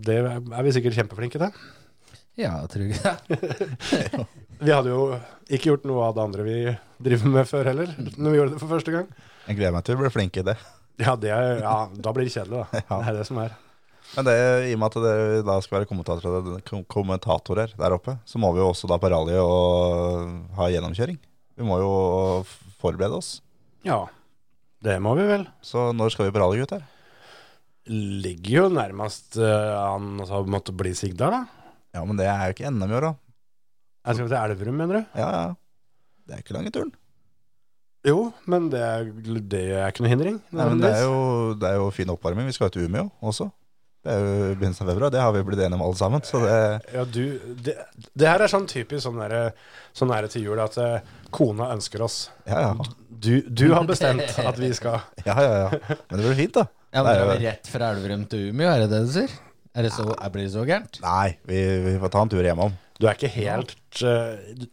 Speaker 3: det er vi sikkert kjempeflinke til.
Speaker 4: ja tror jeg.
Speaker 3: Vi hadde jo ikke gjort noe av det andre vi driver med før heller, når vi gjorde det for første gang.
Speaker 5: Jeg gleder meg til å bli flink i det.
Speaker 3: Ja, det er, ja, da blir det kjedelig, da.
Speaker 5: Ja.
Speaker 3: Det er det som er.
Speaker 5: Men det, i og med at dere da skal være kommentatorer, kom- kommentatorer der oppe, så må vi jo også da på rally og ha gjennomkjøring. Vi må jo forberede oss.
Speaker 3: Ja, det må vi vel.
Speaker 5: Så når skal vi på rally, gutter?
Speaker 3: Ligger jo nærmest eh, an altså, måtte bli Sigdal, da.
Speaker 5: Ja, men det er jo ikke NM i år, da.
Speaker 3: Jeg skal til Elverum, mener du?
Speaker 5: Ja, ja. Det er ikke lange turen.
Speaker 3: Jo, men det er, det er ikke noe hindring.
Speaker 5: Nei, men det er jo, det er jo fin oppvarming. Vi skal jo til Umeå også. Det er jo begynnelsen av februar, det har vi blitt enige om alle sammen. Så det,
Speaker 3: Ja, du, det, det her er sånn typisk sånn nære, sånn derre til jul at eh, kona ønsker oss.
Speaker 5: ja, ja.
Speaker 3: Du, du har bestemt at vi skal
Speaker 5: ja, ja, ja. Men det blir fint, da.
Speaker 4: Ja, men
Speaker 5: Det er
Speaker 4: dere
Speaker 5: jo-
Speaker 4: er rett fra Elverum til Umeå, er det det du sier? Er det så, er, blir det så gærent?
Speaker 5: Nei, vi, vi får ta en tur hjemom.
Speaker 3: Du er ikke helt, eh, du-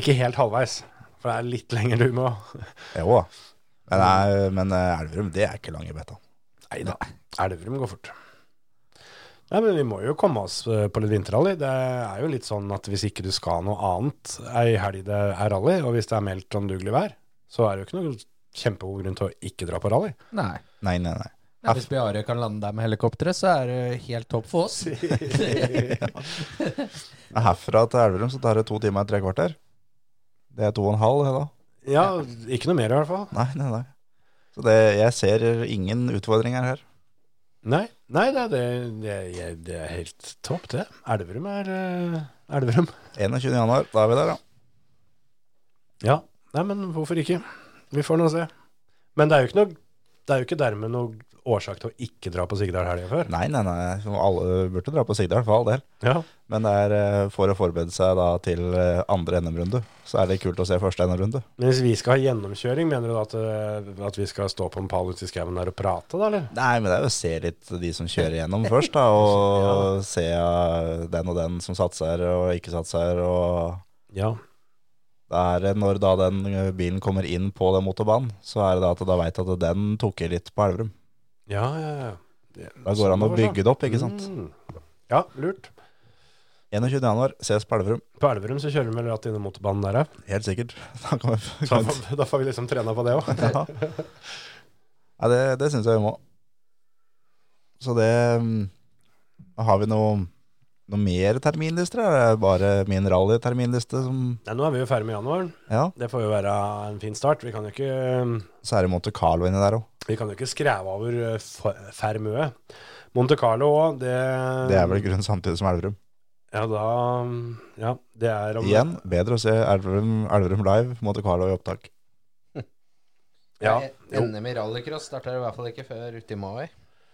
Speaker 3: ikke helt halvveis, for det er litt lenger du må.
Speaker 5: Jo da. Men, nei, men eh, Elverum, det er ikke lang i beta.
Speaker 3: Nei da, Elverum går fort. Nei, men vi må jo komme oss eh, på litt vinterrally. Det er jo litt sånn at hvis ikke du skal noe annet ei helg det er rally, og hvis det er meldt om dugelig vær, så er det jo ikke noen kjempegod grunn til å ikke dra på rally.
Speaker 4: Nei.
Speaker 5: Nei, nei, nei.
Speaker 4: Nei, Hvis Bjarøy kan lande der med helikopteret, så er det helt topp for oss.
Speaker 5: Men Herfra til Elverum så tar det to timer og tre kvarter. Det er to og en halv, det da.
Speaker 3: Ja, ikke noe mer i hvert fall.
Speaker 5: Nei, nei, nei. Så det, jeg ser ingen utfordringer her.
Speaker 3: Nei, nei det, det, det, jeg- det er helt topp, det. Elverum er eh, Elverum.
Speaker 5: 21. januar, da er vi der, ja.
Speaker 3: Ja, nei, men hvorfor ikke? Vi får nå se. Men det er jo ikke, noe, det er jo ikke dermed noe årsak til å ikke dra på Sigdal helga før.
Speaker 5: Nei, nei, nei. så Alle burde dra på Sigdal, for all del.
Speaker 3: Ja,
Speaker 5: Men det er eh, for å forberede seg da til eh, andre NM-runde. Så er det kult å se første NM-runde.
Speaker 3: Men hvis vi skal ha gjennomkjøring, mener du da at, eh, at vi skal stå på en pall ute i skauen der og prate, da, eller?
Speaker 5: Nei, men det er jo å se litt de som kjører gjennom først, da. Og se eh, den og den som satser og ikke satser. Og
Speaker 3: Ja.
Speaker 5: det er eh, når da den eh, bilen kommer inn på den motorbanen, så er det da at du da veit at den tok i litt på Elverum.
Speaker 3: Ja, ja, ja. Det-
Speaker 5: Da går det an å
Speaker 3: sånn var
Speaker 5: bygge det opp, ikke sant.
Speaker 3: Mm. Ja, lurt.
Speaker 5: 21. januar, ses på Elverum.
Speaker 3: På Elverum så kjører vi vel rett innom motorbanen der, ja.
Speaker 5: Helt sikkert. Da kan vi
Speaker 3: Da, får- da får vi liksom trena på det òg.
Speaker 5: Ja, ja det, det syns jeg vi må. Så det mm, Har vi noe, noe mer terminlister? Er det bare min rallyterminliste som
Speaker 3: Nei, nå er vi jo ferdig med januar.
Speaker 5: Ja,
Speaker 3: Det får jo være en fin start. Vi kan jo ikke eh,
Speaker 5: så er det Monte Carlo inni der òg.
Speaker 3: Vi kan jo ikke skreve over eh, Fa- Fermø. Monte Carlo òg, det
Speaker 5: Det er vel i grunnen samtidig som Elverum.
Speaker 3: Ja, da Ja, det er om
Speaker 5: Igjen, bedre å se Elverum, Elverum live, Monte Carlo i opptak.
Speaker 3: Ja,
Speaker 4: Eh,
Speaker 3: jo.
Speaker 4: NM i rallycross starter i hvert fall ikke før uti mai.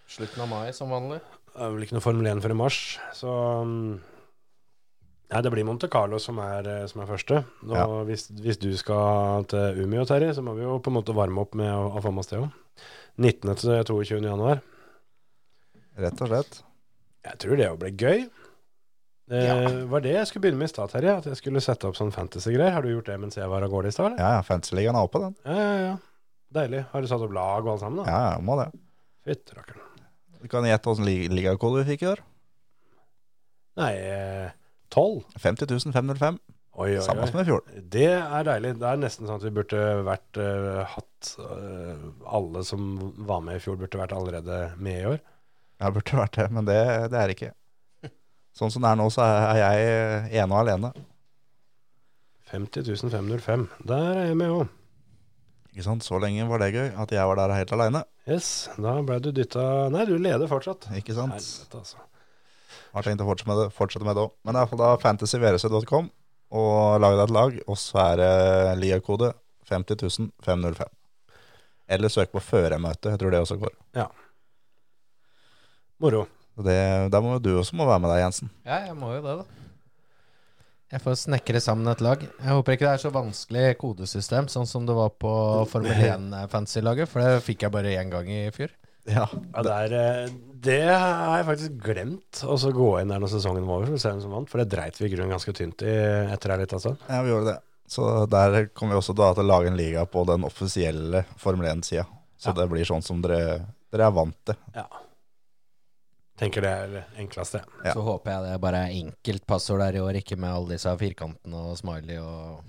Speaker 4: Slutten av mai, som vanlig.
Speaker 3: Det er vel ikke noe Formel 1 før i mars, så um, Nei, det blir Monte Carlo som er, eh, som er første. Og
Speaker 5: Ja.
Speaker 3: hvis, hvis du skal til Umeå, Terje, så må vi jo på en måte varme opp med å, å få med oss det òg. 19. til 22. januar.
Speaker 5: Rett og slett.
Speaker 3: Jeg tror det jo ble gøy. Det var det jeg skulle begynne med i stad, Terje. At jeg skulle sette opp sånn fantasy-greier. Har du gjort det mens jeg var av gårde i stad, eller?
Speaker 5: Ja, ja, Fantasyligaen er oppe, den.
Speaker 3: Ja, ja, ja. Deilig. Har du satt opp lag og alt sammen, da?
Speaker 5: Ja, ja, må det.
Speaker 3: Fytti rakkeren.
Speaker 5: Du kan gjette åssen ligakode vi fikk i år.
Speaker 3: Nei, eh, 12.
Speaker 5: 50 505.
Speaker 3: Oi, oi,
Speaker 5: Samme
Speaker 3: oi.
Speaker 5: som i fjor.
Speaker 3: Det er deilig. Det er nesten sånn at vi burde vært eh, hatt eh, Alle som var med i fjor, burde vært allerede med i år.
Speaker 5: Jeg burde vært det, men det, det er det ikke. Sånn som det er nå, så er jeg ene og alene.
Speaker 3: 50.505. Der er jeg med òg.
Speaker 5: Ikke sant? Så lenge var det gøy at jeg var der helt alene.
Speaker 3: Yes, da ble du dytta Nei, du leder fortsatt.
Speaker 5: Ikke sant?
Speaker 3: Helvete, altså.
Speaker 5: Har tenkt å fortsette med det, fortsette med det òg. Men det er iallfall da fantasyvrc.com, og lag deg et lag. Og så er det LIA-kode 505. Eller søk på førermøte, jeg tror det også går.
Speaker 3: Moro.
Speaker 5: Og Det, der må jo du også må være med deg, Jensen.
Speaker 4: Ja, jeg må jo det, da. Jeg får snekre sammen et lag. Jeg håper ikke det er så vanskelig kodesystem, sånn som det var på Formel 1-fancy-laget, for det fikk jeg bare én gang i fjor.
Speaker 5: Ja,
Speaker 3: Ja, det, er, eh, det har jeg faktisk glemt å så gå inn der når sesongen var over, for å se hvem som vant. For det dreit vi i grunnen ganske tynt i etter altså. ei lita stund.
Speaker 5: ja, vi gjorde det. Så der kommer vi også da til å lage en liga på den offisielle Formel 1-sida. Så
Speaker 3: Ja.
Speaker 5: det blir sånn som dere, dere er vant til.
Speaker 3: Ja. Tenker det er det enkleste.
Speaker 5: Ja.
Speaker 4: Så håper jeg det bare er enkelt passord der i år, ikke med alle disse firkantene og smiley og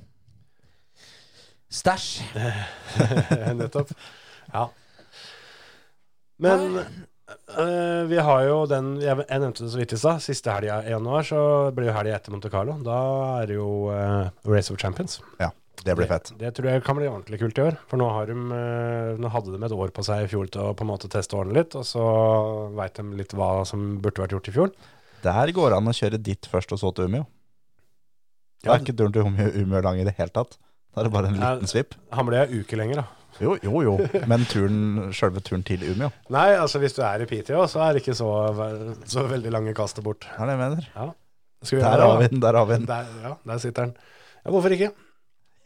Speaker 4: Stæsj!
Speaker 3: Nettopp. Ja. Men eh, vi har jo den Jeg, jeg nevnte det så vidt i stad. Siste helga i januar så blir jo helga etter Monte Carlo. Da er det jo eh, Race of Champions.
Speaker 5: Ja, det blir fett.
Speaker 3: Det, det tror jeg kan bli ordentlig kult i år. For nå, har de, eh, nå hadde de et år på seg i fjor til å på en måte teste årene litt, og så veit de litt hva som burde vært gjort i fjor.
Speaker 5: Der går det an å kjøre dit først og så til Umeå. Det
Speaker 3: Ja.
Speaker 5: er ikke turen til Umeå, Umeå lang i det hele tatt. Da er det bare en
Speaker 3: Nei.
Speaker 5: liten svipp.
Speaker 3: Han ble ei uke lenger, da.
Speaker 5: Jo, jo, jo. Men turen, selve turen til Umeå,
Speaker 3: Nei, altså hvis du er i PTO, så er det ikke så, ve- så veldig lange kastet bort.
Speaker 5: er det jeg mener.
Speaker 3: Ja. Skal vi
Speaker 5: Der
Speaker 3: gjøre
Speaker 5: har vi
Speaker 3: det,
Speaker 5: den, der har vi
Speaker 3: da?
Speaker 5: den.
Speaker 3: Der, ja, der sitter den. Ja, hvorfor ikke?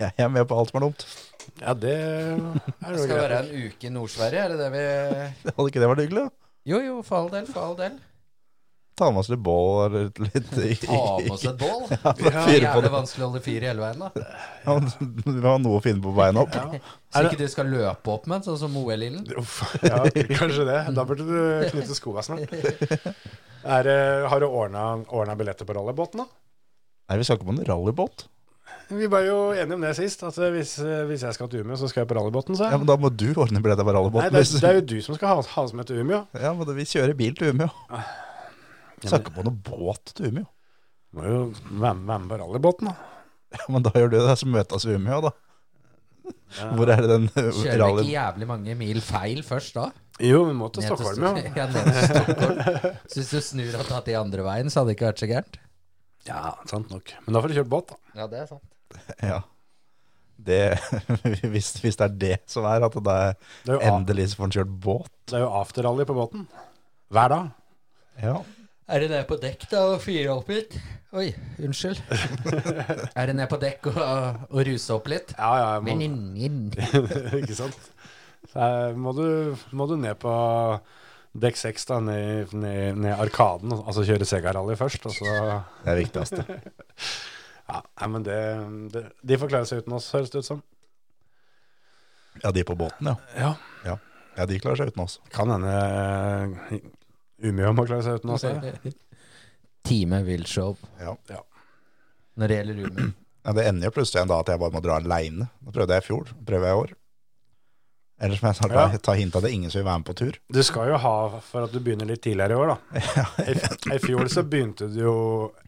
Speaker 5: Jeg er med på alt som er dumt.
Speaker 3: Ja, det er
Speaker 4: Det
Speaker 3: noe
Speaker 4: skal være
Speaker 3: greit.
Speaker 4: en uke i Nord-Sverige, er det det vi
Speaker 5: Hadde ikke det vært hyggelig? da?
Speaker 4: Jo, jo, for all del, for all del.
Speaker 5: Ta med oss litt bål eller litt litt-
Speaker 4: Ta med oss et bål.
Speaker 5: Ja,
Speaker 4: Det er
Speaker 5: fyre på
Speaker 4: jævlig
Speaker 5: det.
Speaker 4: vanskelig å holde fyr i hele veien, da.
Speaker 5: Ja, men Du har noe å finne på veien opp.
Speaker 3: Er
Speaker 4: Så
Speaker 3: det-
Speaker 4: ikke du skal løpe opp med en, sånn som OL-ilden.
Speaker 3: Uff, ja, kanskje det. Da burde du knytte skoa snart. Er, det- har du ordna ordna billetter på rallybåten, da?
Speaker 5: Nei, vi skal ikke på en rallybåt.
Speaker 3: Vi var jo enige om det sist, at eh, hvis, hvis jeg skal til Umeå, så skal jeg på rallybåten, sa
Speaker 5: Ja,
Speaker 3: jeg.
Speaker 5: men da må du ordne billetter på
Speaker 3: Nei,
Speaker 5: rallybåten.
Speaker 3: det, er-
Speaker 5: hvis-
Speaker 3: det er jo du som skal ha, ha oss med til Umeå.
Speaker 5: Ja, men vi kjører bil til Umeå.
Speaker 3: Ah.
Speaker 5: Skal ikke på noen båt til Umeå.
Speaker 3: Må jo være med være med på rallybåten, da.
Speaker 5: Ja, men da gjør du det, så møtes vi i Umeå, da. Hvor er det den uh,
Speaker 4: Kjører vi
Speaker 5: rally...
Speaker 4: ikke jævlig mange mil feil først da?
Speaker 3: Jo, vi må til
Speaker 4: Ned
Speaker 3: Stockholm,
Speaker 4: Sto-
Speaker 3: jo.
Speaker 4: Ja, ned til Stockholm. Så hvis du snur og tatt de andre veien, så hadde det ikke vært så gærent.
Speaker 3: Ja, sant nok. Men da får du kjørt båt, da.
Speaker 4: Ja, det er sant.
Speaker 5: Ja. Det, hvis, hvis det er det som er, at det er
Speaker 3: Det er jo, a-
Speaker 5: endelig så får han kjørt båt.
Speaker 3: det er jo afterrally på båten. Hver dag.
Speaker 5: Ja.
Speaker 4: Er det ned på dekk da og fyre opp litt? Oi, unnskyld. Er det ned på dekk og, og ruse opp litt?
Speaker 3: Ja, ja, jeg må,
Speaker 4: Men inn, inn.
Speaker 3: ikke sant. Så eh, må du, må du ned på dekk seks, da, ned, ned, ned Arkaden, og- altså kjøre Sega-rally først, og så
Speaker 5: Det er viktigst.
Speaker 3: Ja, nei, men det, det De får klare seg uten oss, høres det ut som.
Speaker 5: Ja, de på båten, ja.
Speaker 3: Ja.
Speaker 5: Ja, ja de klarer seg uten oss.
Speaker 3: Kan hende eh, Umeå må klare seg uten oss. eller?
Speaker 4: Time viltshow
Speaker 5: Ja.
Speaker 3: Ja.
Speaker 4: når det gjelder Umeå.
Speaker 5: Ja, det ender jo plutselig en dag at jeg bare må dra aleine. Det prøvde jeg i fjor, det prøver jeg i år. Eller som jeg snart
Speaker 3: Ja.
Speaker 5: tar- tar hint av det, ingen som vil være med på tur.
Speaker 3: Du skal jo ha for at du begynner litt tidligere i år, da. I, f- i fjor så begynte du jo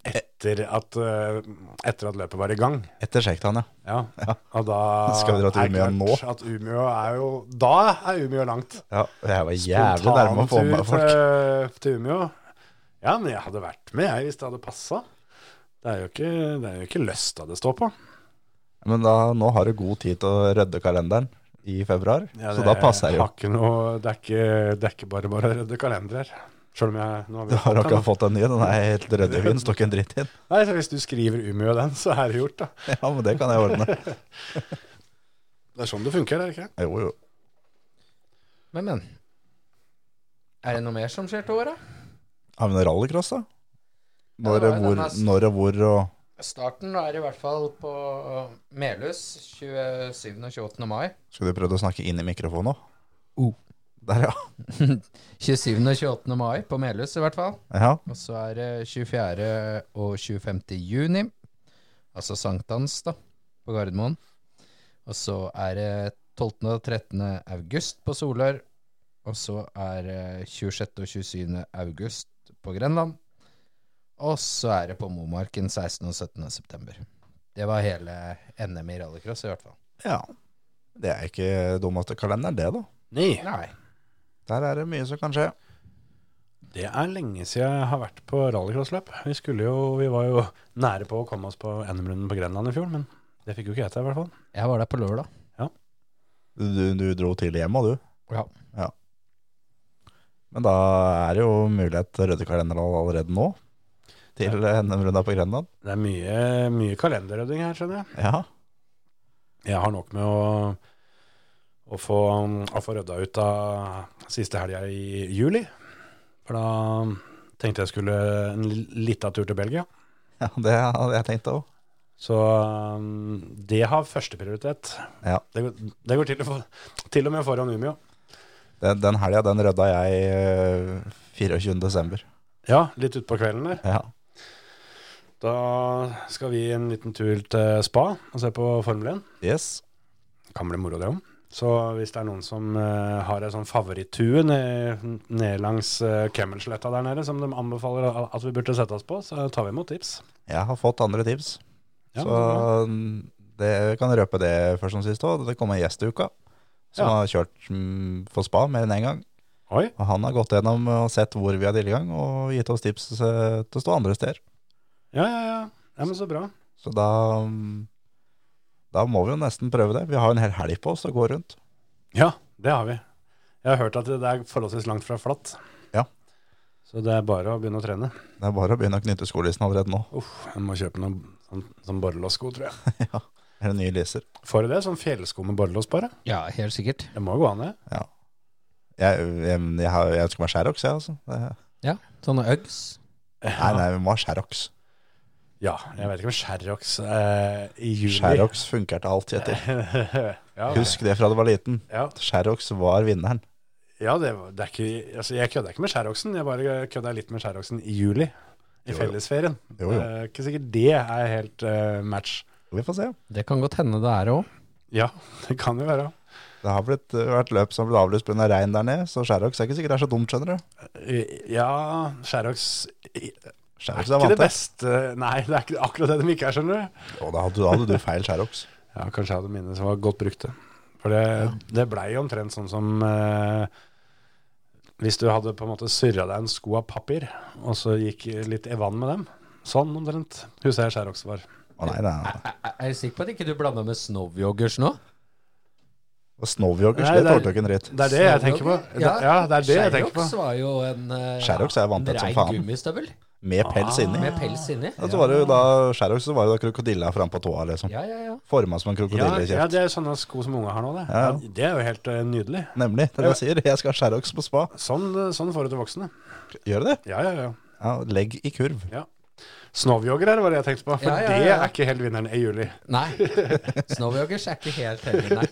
Speaker 3: etter at, eh, etter at løpet var i gang.
Speaker 5: Etter Sjektan, ja.
Speaker 3: Ja. Og da
Speaker 5: Skal vi dra til
Speaker 3: er det
Speaker 5: Umeå
Speaker 3: klart
Speaker 5: nå?
Speaker 3: At Umeå er jo Da er Umeå langt.
Speaker 5: ja. og Jeg var jævlig nærme å få med meg
Speaker 3: Spontantur
Speaker 5: folk.
Speaker 3: Til, til Umeå. Ja, men jeg hadde vært med, jeg, hvis det hadde passa. Det er jo ikke, det er jo ikke lysta det står på.
Speaker 5: Men da, nå har du god tid til å rydde kalenderen i februar,
Speaker 3: Ja,
Speaker 5: så da passer det jo.
Speaker 3: har ikke noe, det er ikke, det er ikke bare bare å rydde kalender. Selv om jeg nå har
Speaker 5: Du
Speaker 3: vi
Speaker 5: har
Speaker 3: fått den,
Speaker 5: akkurat fått en ny, den er helt rød i vinden, står ikke en dritt i den.
Speaker 3: da. Nei, så Hvis du skriver Umeå den, så er det gjort, da.
Speaker 5: Ja, men det kan jeg ordne.
Speaker 3: Det er sånn det funker, er det ikke?
Speaker 5: Jo, jo.
Speaker 4: Men, men. Er det noe mer som skjer til året?
Speaker 5: Har vi noe rallycross, da?
Speaker 4: Ja,
Speaker 5: Når,
Speaker 4: det
Speaker 5: og
Speaker 4: var jo
Speaker 5: hvor,
Speaker 4: den der-
Speaker 5: når og hvor og
Speaker 4: Starten er i hvert fall på Melhus 27. og 28. mai.
Speaker 5: Skulle du prøvd å snakke inn i mikrofonen òg?
Speaker 4: Oh.
Speaker 5: Der, ja.
Speaker 4: 27. og 28. mai på Melhus i hvert fall.
Speaker 5: ja.
Speaker 4: Og så er det 24. og 25. juni, altså sankthans da, på Gardermoen. Og så er det 12. og 13. august på Solør. Og så er det 26. og 27. august på Grenland. Og så er det på Momarken 16. og 17. september. Det var hele NM i rallycross i hvert fall.
Speaker 5: Ja. Det er ikke dummeste kalenderen, det, da.
Speaker 3: Nei.
Speaker 4: Nei.
Speaker 5: Der er det mye som kan skje.
Speaker 3: Det er lenge siden jeg har vært på rallycrossløp. Vi skulle jo, vi var jo nære på å komme oss på NM-runden på Grenland i fjor, men det fikk jo ikke jeg til, i hvert fall.
Speaker 4: Jeg var der på lørdag.
Speaker 5: Du, du dro tidlig hjem, og du.
Speaker 4: Ja.
Speaker 5: Men da er det jo mulighet til røde kalenderen allerede nå. Til NM-runda på Grenland.
Speaker 3: Det er mye, mye kalenderrydding her, skjønner jeg.
Speaker 5: Ja.
Speaker 3: Jeg har nok med å, å få, um, å få rydda ut av siste helga i juli. For da um, tenkte jeg skulle en li- lita tur til Belgia.
Speaker 5: ja, det hadde jeg tenkt òg.
Speaker 3: Så um, det har førsteprioritet.
Speaker 5: Ja.
Speaker 3: Det, går- det går til og, for, til og med foran Umeå.
Speaker 5: Den, den helga, den rydda jeg eh, 24. desember.
Speaker 3: Ja, litt utpå kvelden der.
Speaker 5: Ja.
Speaker 3: Da skal vi en liten tur til spa og se på Formel 1.
Speaker 5: Yes.
Speaker 3: kan bli moro det om. Så hvis det er noen som eh, har en sånn favorittue ned, ned langs uh, Kemmelsletta der nede, som de anbefaler a- at vi burde sette oss på, så tar vi imot tips.
Speaker 5: Jeg har fått andre tips.
Speaker 3: Ja,
Speaker 5: så mm, det kan jeg røpe det først som sist òg. Det kommer en gjest i uka som
Speaker 3: Ja.
Speaker 5: har kjørt mm, for spa mer enn én gang.
Speaker 3: Oi,
Speaker 5: Og han har gått gjennom og sett hvor vi har tilgang, og gitt oss tips eh, til å stå andre steder.
Speaker 3: ja, ja, ja. ja men så bra.
Speaker 5: Så da mm, da må vi jo nesten prøve det. Vi har jo en hel helg på oss til å gå rundt.
Speaker 3: Ja, det har vi. Jeg har hørt at det er forholdsvis langt fra flatt.
Speaker 5: Ja.
Speaker 3: Så det er bare å begynne å trene.
Speaker 5: Det er bare å begynne å knytte skolissen allerede nå.
Speaker 3: Uff, jeg må kjøpe noen sånn, sånn borrelåssko, tror jeg.
Speaker 5: ja. Eller nye leser.
Speaker 3: Får du det? Sånn fjellsko med borrelås bare?
Speaker 4: Ja, helt sikkert.
Speaker 3: Det må jo gå an, det.
Speaker 5: Ja. Jeg, jeg, jeg, har- jeg ønsker meg Sherrox, jeg, altså. Det,
Speaker 4: Ja, Sånne Uggs.
Speaker 5: nei, nei, vi må ha Sherrox.
Speaker 3: Ja, jeg vet ikke om Sherrox eh, i juli
Speaker 5: Sherrox funker til alt, Kjetil.
Speaker 3: ja,
Speaker 5: Husk det fra du var liten.
Speaker 3: Ja,
Speaker 5: Sherrox var vinneren.
Speaker 3: ja det, var- det er ikke altså, Jeg kødda ikke med Sherroxen, jeg bare kødda litt med Sherroxen i juli. I
Speaker 5: Jo, jo.
Speaker 3: fellesferien.
Speaker 5: Jo, jo.
Speaker 3: Eh, ikke sikkert det er helt eh, match.
Speaker 5: Vi får se.
Speaker 4: Det kan godt hende det er òg.
Speaker 3: Ja, det kan jo være.
Speaker 5: Det har blitt, vært løp som har blitt avlyst pga. regn der nede, så Sherrox er ikke sikkert det er så dumt, skjønner du.
Speaker 3: Eh, Ja, Sherrox i- er
Speaker 5: Sherrox er
Speaker 3: ikke det
Speaker 5: vant til.
Speaker 3: beste Nei, det er ikke akkurat det de ikke er, skjønner du.
Speaker 5: Å, Da hadde, da hadde du feil Sherrox.
Speaker 3: Ja, kanskje jeg hadde mine som var godt brukte. For det, det blei jo omtrent sånn som eh, hvis du hadde på en måte surra deg en sko av papir, og så gikk litt i vann med dem. Sånn omtrent husker jeg Sherrox var.
Speaker 5: Å nei, nei, nei.
Speaker 4: Er du sikker på at ikke du blanda med snowyoggers nå?
Speaker 5: Og Snowyoggers,
Speaker 3: Nei,
Speaker 5: det
Speaker 3: det er-
Speaker 5: tålte jo ikke en dritt.
Speaker 3: Det er det jeg tenker på.
Speaker 4: Ja.
Speaker 3: Ja, ja det er det jeg tenker på.
Speaker 4: Sherrox var jo en eh,
Speaker 5: Sherrox er vanntett
Speaker 4: en
Speaker 5: som
Speaker 4: rein
Speaker 5: faen.
Speaker 4: gummistøvel
Speaker 5: Med
Speaker 3: Ah,
Speaker 5: pels inni.
Speaker 4: med pels inni.
Speaker 5: Ja, så var det jo da Sherrox, så var det da krokodilla fram på tåa, liksom.
Speaker 4: Ja, ja, ja.
Speaker 5: Forma som en
Speaker 3: Ja,
Speaker 5: krokodille i
Speaker 3: ja,
Speaker 5: kjeft.
Speaker 3: det er sånne sko som unge har nå, det.
Speaker 5: Ja, ja.
Speaker 3: Ja, det er jo helt eh, nydelig.
Speaker 5: Nemlig. Det er det jeg sier. Jeg skal ha Sherrox på spa.
Speaker 3: Sånn, eh, sånn får du til voksne.
Speaker 5: Gjør det?
Speaker 3: Ja, ja, ja.
Speaker 5: Ja, legg i kurv.
Speaker 3: Snowjogger er det var det jeg tenkte på, for
Speaker 4: Ja, ja, ja.
Speaker 3: det er ikke helt vinneren i juli.
Speaker 4: Nei. Snowyoggers er ikke helt heldig, nei.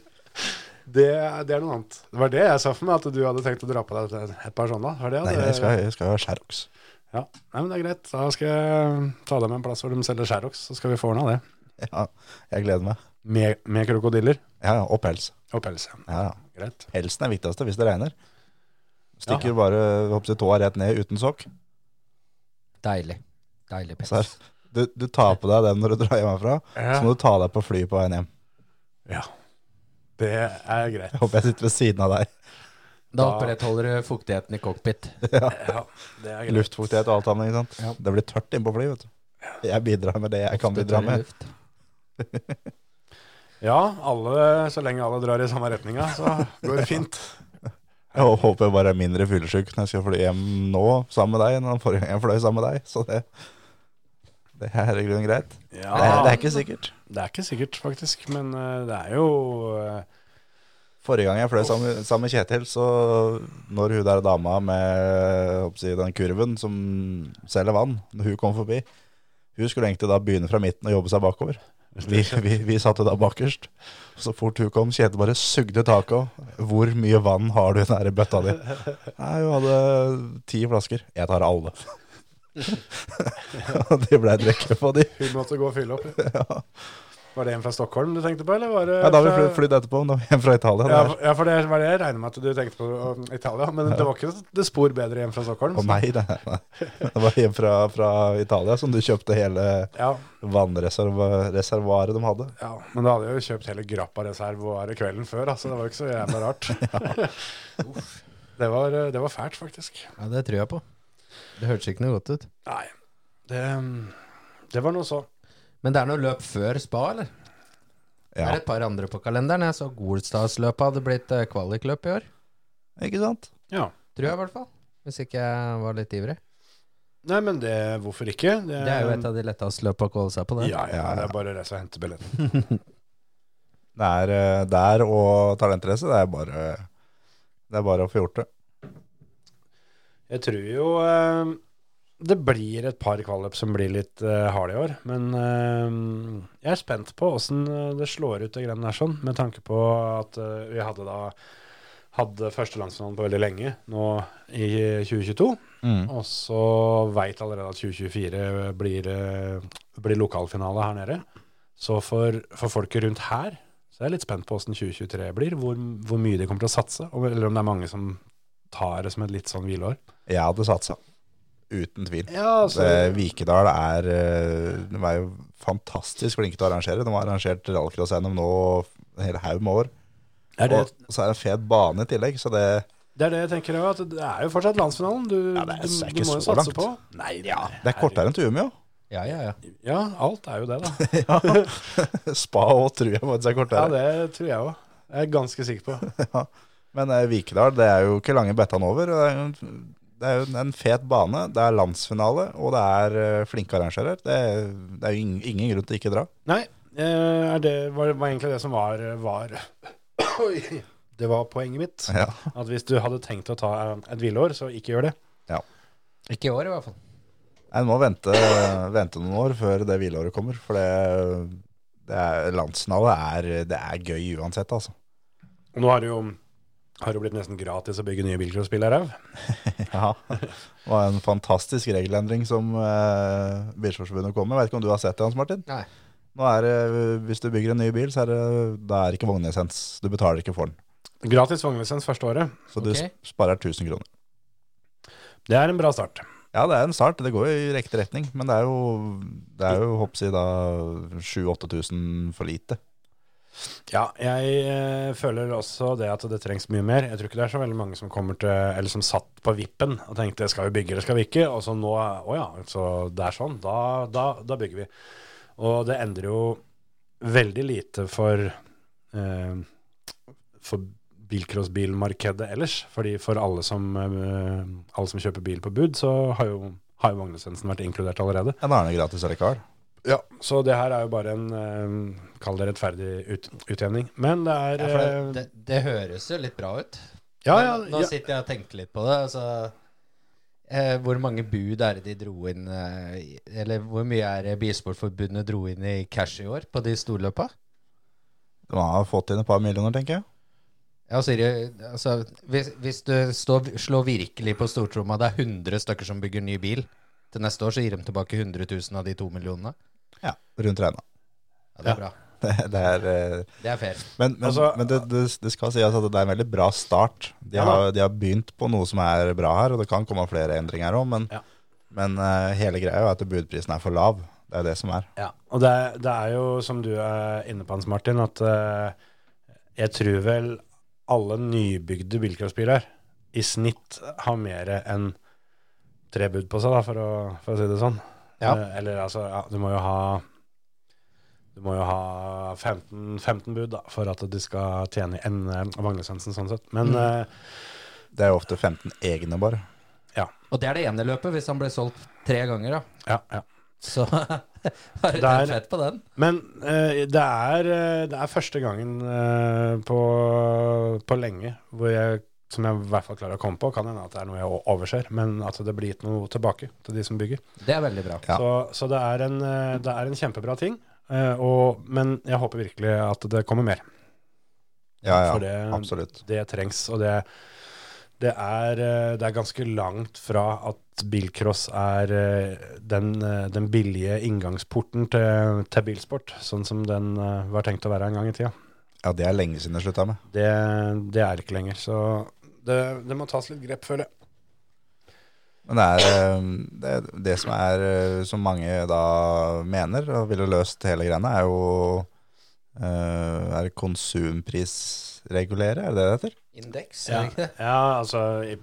Speaker 3: Det, det er noe annet. Det var det jeg sa for meg, at du hadde tenkt å dra på deg et- et par sånne. Var det,
Speaker 5: Nei,
Speaker 3: det-
Speaker 5: jeg skal, jeg skal ha Sherrox.
Speaker 3: Ja, Nei, men det er greit. Da skal jeg ta deg med en plass hvor de selger Sherrox, så skal vi få ordna det.
Speaker 5: Ja, jeg gleder meg.
Speaker 3: Med, med krokodiller
Speaker 5: Ja, ja, og pels.
Speaker 3: og pels. ja.
Speaker 5: Ja, ja.
Speaker 3: Greit.
Speaker 5: Pelsen er viktigste hvis det regner. Stikker bare hoppsi, tåa rett ned uten sokk.
Speaker 4: Deilig. Deilig
Speaker 5: Så er,
Speaker 4: pels.
Speaker 5: du, du tar på deg den når du drar hjemmefra, så må du ta deg på flyet på veien hjem.
Speaker 3: ja. Det er greit.
Speaker 5: Jeg håper jeg sitter ved siden av deg.
Speaker 4: Da opprettholder du fuktigheten i cockpit.
Speaker 3: Ja, det er greit.
Speaker 5: Luftfuktighet og alt sammen. ikke sant?
Speaker 4: Ja.
Speaker 5: Det blir tørt inn på fly, vet du. Jeg bidrar med det jeg kan
Speaker 4: Det
Speaker 5: bidra
Speaker 4: tar
Speaker 5: med.
Speaker 4: luft.
Speaker 3: Ja, alle, så lenge alle drar i samme retninga, så går det fint.
Speaker 5: Jeg hå- håper jeg bare er mindre fyllesyk når jeg skal fly hjem nå sammen med deg, enn den forrige gang jeg fløy sammen med deg. Så det, det er i grunnen greit.
Speaker 3: Ja,
Speaker 5: Det, er, det er ikke sikkert.
Speaker 3: det er ikke sikkert, faktisk, men eh, det er jo eh,
Speaker 5: Forrige gang jeg fløy sammen, sammen med Kjetil, så når hun der dama med hoppsi, den kurven som selger vann, når hun kom forbi Hun skulle egentlig da begynne fra midten og jobbe seg bakover. Vi, vi, vi satt jo da bakerst. Så fort hun kom, Kjetil bare sugde taket av. 'Hvor mye vann har du i den der bøtta di?' Nei, hun hadde ti flasker. 'Jeg tar alle'. Og de blei drukket på, de.
Speaker 3: Hun måtte gå og fylle opp. Var det en fra Stockholm du tenkte på, eller var det
Speaker 5: Ja, da har vi
Speaker 3: fra-
Speaker 5: fly- flydd etterpå, da var vi hjem fra Italia.
Speaker 3: ja,
Speaker 5: der.
Speaker 3: for- ja, for det var det jeg regner med at du tenkte på om Italia. Men det var ikke det spor bedre hjem fra Stockholm.
Speaker 5: Å
Speaker 3: så-
Speaker 5: nei, nei, nei. Det var hjem fra, fra Italia som du kjøpte hele
Speaker 3: Ja,
Speaker 5: vannreservoaret de hadde.
Speaker 3: Ja, men da hadde jeg jo kjøpt hele grappa reserve og her kvelden før, altså. Det var jo ikke så jævla rart. Uff. det, var, eh, det var fælt, faktisk.
Speaker 4: Ja, det tror jeg på. Det hørtes ikke noe godt ut.
Speaker 3: Nei, det, det var noe så.
Speaker 4: Men det er noe løp før spa, eller? Det
Speaker 5: Ja,
Speaker 4: er et par andre på kalenderen. Jeg så Golstadsløpet hadde blitt eh, kvalikløp i år.
Speaker 5: ikke sant?
Speaker 3: Ja.
Speaker 4: Tror jeg, i hvert fall. Hvis ikke jeg var litt ivrig.
Speaker 3: Nei, men det, hvorfor ikke?
Speaker 4: Det er jo
Speaker 3: Eh,
Speaker 4: et av de letteste løpa å kåle seg på, det.
Speaker 3: Ja, ja, det er bare å reise og hente billetten.
Speaker 5: Det er eh, der og talentrace, det er bare det er bare å få gjort det.
Speaker 3: Jeg tror jo eh, det blir et par kvalløp som blir litt eh, harde i år, men eh, jeg er spent på åssen eh, det slår ut det greiene der sånn, med tanke på at eh, vi hadde da hadde første landsfinalen på veldig lenge nå i 2022. Og så veit allerede at 2024 blir, eh, blir lokalfinale her nede. Så for, for folket rundt her så er jeg litt spent på åssen 2023 blir. Hvor, hvor mye de kommer til å satse, om- eller om det er mange som tar det som et litt sånn hvileår.
Speaker 5: Jeg hadde satsa, uten tvil.
Speaker 3: Ja, altså-
Speaker 5: Eh, Vikedal er eh, De er jo fantastisk flinke til å arrangere. De har arrangert rallcross gjennom nå en hel haug med år.
Speaker 3: er det,
Speaker 5: Og så er det en fet bane i tillegg, så det
Speaker 3: det er det jeg tenker òg, at det er jo fortsatt landsfinalen. Du,
Speaker 5: Ja, det er- altså, det er
Speaker 3: du,
Speaker 5: ikke
Speaker 3: du må jo
Speaker 5: så
Speaker 3: satse
Speaker 5: langt.
Speaker 3: på. Nei, ja.
Speaker 5: Det er kortere enn til Umeå.
Speaker 4: Ja, ja, ja.
Speaker 3: Ja, alt er jo det, da.
Speaker 5: Ja. Spa òg tror jeg faktisk er
Speaker 3: Ja,
Speaker 5: kortere.
Speaker 3: det tror jeg òg. Det er jeg ganske sikker på.
Speaker 5: Men eh, Vikedal, det er jo ikke lange bettan over. Det er, jo en, det er jo en fet bane, det er landsfinale, og det er eh, flinke arrangører. Det, er- det er jo ingen, ingen grunn til ikke dra.
Speaker 3: Nei, eh, er det var, var egentlig det som var, var Oi. Det var poenget mitt.
Speaker 5: Ja.
Speaker 3: At hvis du hadde tenkt å ta eh, et hvileår, så ikke gjør det.
Speaker 4: Ikke i år, i hvert fall.
Speaker 5: En må vente, vente noen år før det hvileåret kommer, for det, det er, landsfinale er, det er gøy uansett, altså.
Speaker 3: Og Nå har det jo har det jo blitt nesten gratis å bygge nye bilcrossbiler her.
Speaker 5: Ja. Det var en fantastisk regelendring som eh, Bilsportsforbundet kom med. Vet ikke om du har sett det, Hans Martin?
Speaker 4: Nei.
Speaker 5: Nå er det, Hvis du bygger en ny bil, så er det, da er det ikke vognessens. Du betaler ikke for den.
Speaker 3: Gratis vognlisens første året.
Speaker 5: Så
Speaker 4: Ok.
Speaker 5: du sp- sparer 1000 kroner.
Speaker 3: Det er en bra start.
Speaker 5: Ja, det er en start. Det går jo i riktig retning. Men det er jo, det er jo hoppsi da 7000-8000 for lite.
Speaker 3: Ja, jeg eh, føler også det at det trengs mye mer. Jeg tror ikke det er så veldig mange som kommer til Eller som satt på vippen og tenkte skal vi bygge eller skal vi ikke? Og så nå Å ja, så det er sånn. Da, da, da bygger vi. Og det endrer jo veldig lite for eh, For bilcrossbilmarkedet ellers. Fordi for alle som, eh, alle som kjøper bil på bud, så har jo, har jo vognlisensen vært inkludert allerede.
Speaker 5: Ja, da er det gratis allikevel.
Speaker 3: Ja, så det her er jo bare en eh, Kall det rettferdig ut, utjevning. Men det er
Speaker 4: Ja,
Speaker 3: eh,
Speaker 4: for det, det, det høres jo litt bra ut.
Speaker 3: Ja,
Speaker 4: Men
Speaker 3: ja,
Speaker 4: Nå
Speaker 3: ja.
Speaker 4: sitter jeg og tenker litt på det. Altså, eh, hvor mange bud er det de dro inn eh, i- Eller hvor mye er det Bilsportforbundet dro inn i cash i år på de storløpa?
Speaker 5: De har fått inn et par millioner, tenker jeg.
Speaker 4: Ja, Siri, altså, hvis, hvis du står, slår virkelig på stortromma, det er 100 stykker som bygger ny bil til neste år, så gir de tilbake 100 000 av de to millionene.
Speaker 5: Ja, rundt regna.
Speaker 4: Ja, det er
Speaker 3: Ja.
Speaker 4: bra.
Speaker 5: Det, det er eh,
Speaker 4: Det er fair.
Speaker 5: Men, men,
Speaker 3: Altså-
Speaker 5: men det, det, det skal sies at det er en veldig bra start. De
Speaker 3: Ja da.
Speaker 5: har, de har begynt på noe som er bra her, og det kan komme flere endringer òg, men,
Speaker 3: Ja.
Speaker 5: men eh, hele greia er jo at budprisen er for lav. Det er det som er.
Speaker 3: Ja, og det, er- det er jo som du er inne på, Hans Martin, at eh, jeg tror vel alle nybygde bilcrossbiler i snitt har mer enn tre bud på seg, da, for å, for å si det sånn.
Speaker 4: Ja.
Speaker 3: Eh, Eller altså, ja, du må jo ha du må jo ha 15, 15 bud da, for at de skal tjene igjen eh, vognlisensen, sånn sett. Men eh,
Speaker 5: Det er jo ofte 15 egne, bare.
Speaker 4: Og det er det ene løpet, hvis han ble solgt tre ganger, da.
Speaker 3: ja, ja.
Speaker 4: Så har du
Speaker 3: Der-
Speaker 4: tjent fett på den.
Speaker 3: Men eh, det, er, eh, det er første gangen eh, på, på lenge hvor jeg, som jeg i hvert fall klarer å komme på, kan hende at det er noe jeg o- overser, men at det blir gitt noe tilbake til de som bygger.
Speaker 4: Det er veldig bra.
Speaker 5: Ja.
Speaker 3: Så, så det, er en, eh, det er en kjempebra ting, eh, og, men jeg håper virkelig at det kommer mer.
Speaker 5: Ja, ja,
Speaker 3: For det-
Speaker 5: absolutt.
Speaker 3: Det trengs, og det, det, er, eh, det er ganske langt fra at bilcross er eh, den, eh, den billige inngangsporten til, til bilsport, sånn som den eh, var tenkt å være en gang i tida.
Speaker 5: Ja, Det er lenge siden jeg slutta med.
Speaker 3: Det, det er ikke lenger. Så det, det må tas litt grep, føler jeg.
Speaker 5: Men det er eh, det, det som er eh, som mange da mener og ville løst hele greiene, er jo eh, Er det konsumprisregulere, er det det det heter?
Speaker 4: Indeks,
Speaker 3: Ja,
Speaker 4: er det ikke det?
Speaker 3: altså i-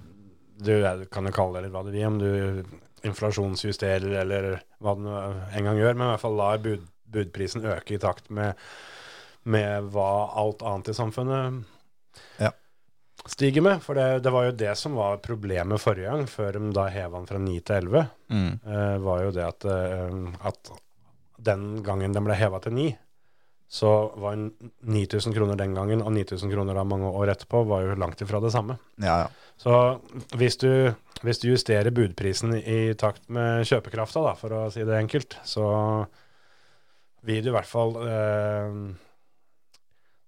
Speaker 3: Du jeg kan jo kalle det litt hva du vil, om du inflasjonsjusterer eller hva du nå en gang gjør, men i hvert fall lar bud, budprisen øke i takt med, med hva alt annet i samfunnet
Speaker 5: Ja.
Speaker 3: stiger med. For det, det var jo det som var problemet forrige gang, før de da heva den fra 9 til 11. eh, var jo det at, eh, at den gangen den ble heva til 9, så var n- 9000 kroner den gangen, og 9000 kroner da mange år etterpå, var jo langt ifra det samme.
Speaker 5: Ja, ja.
Speaker 3: Så hvis du, hvis du justerer budprisen i takt med kjøpekrafta, da, for å si det enkelt, så vil du i hvert fall eh,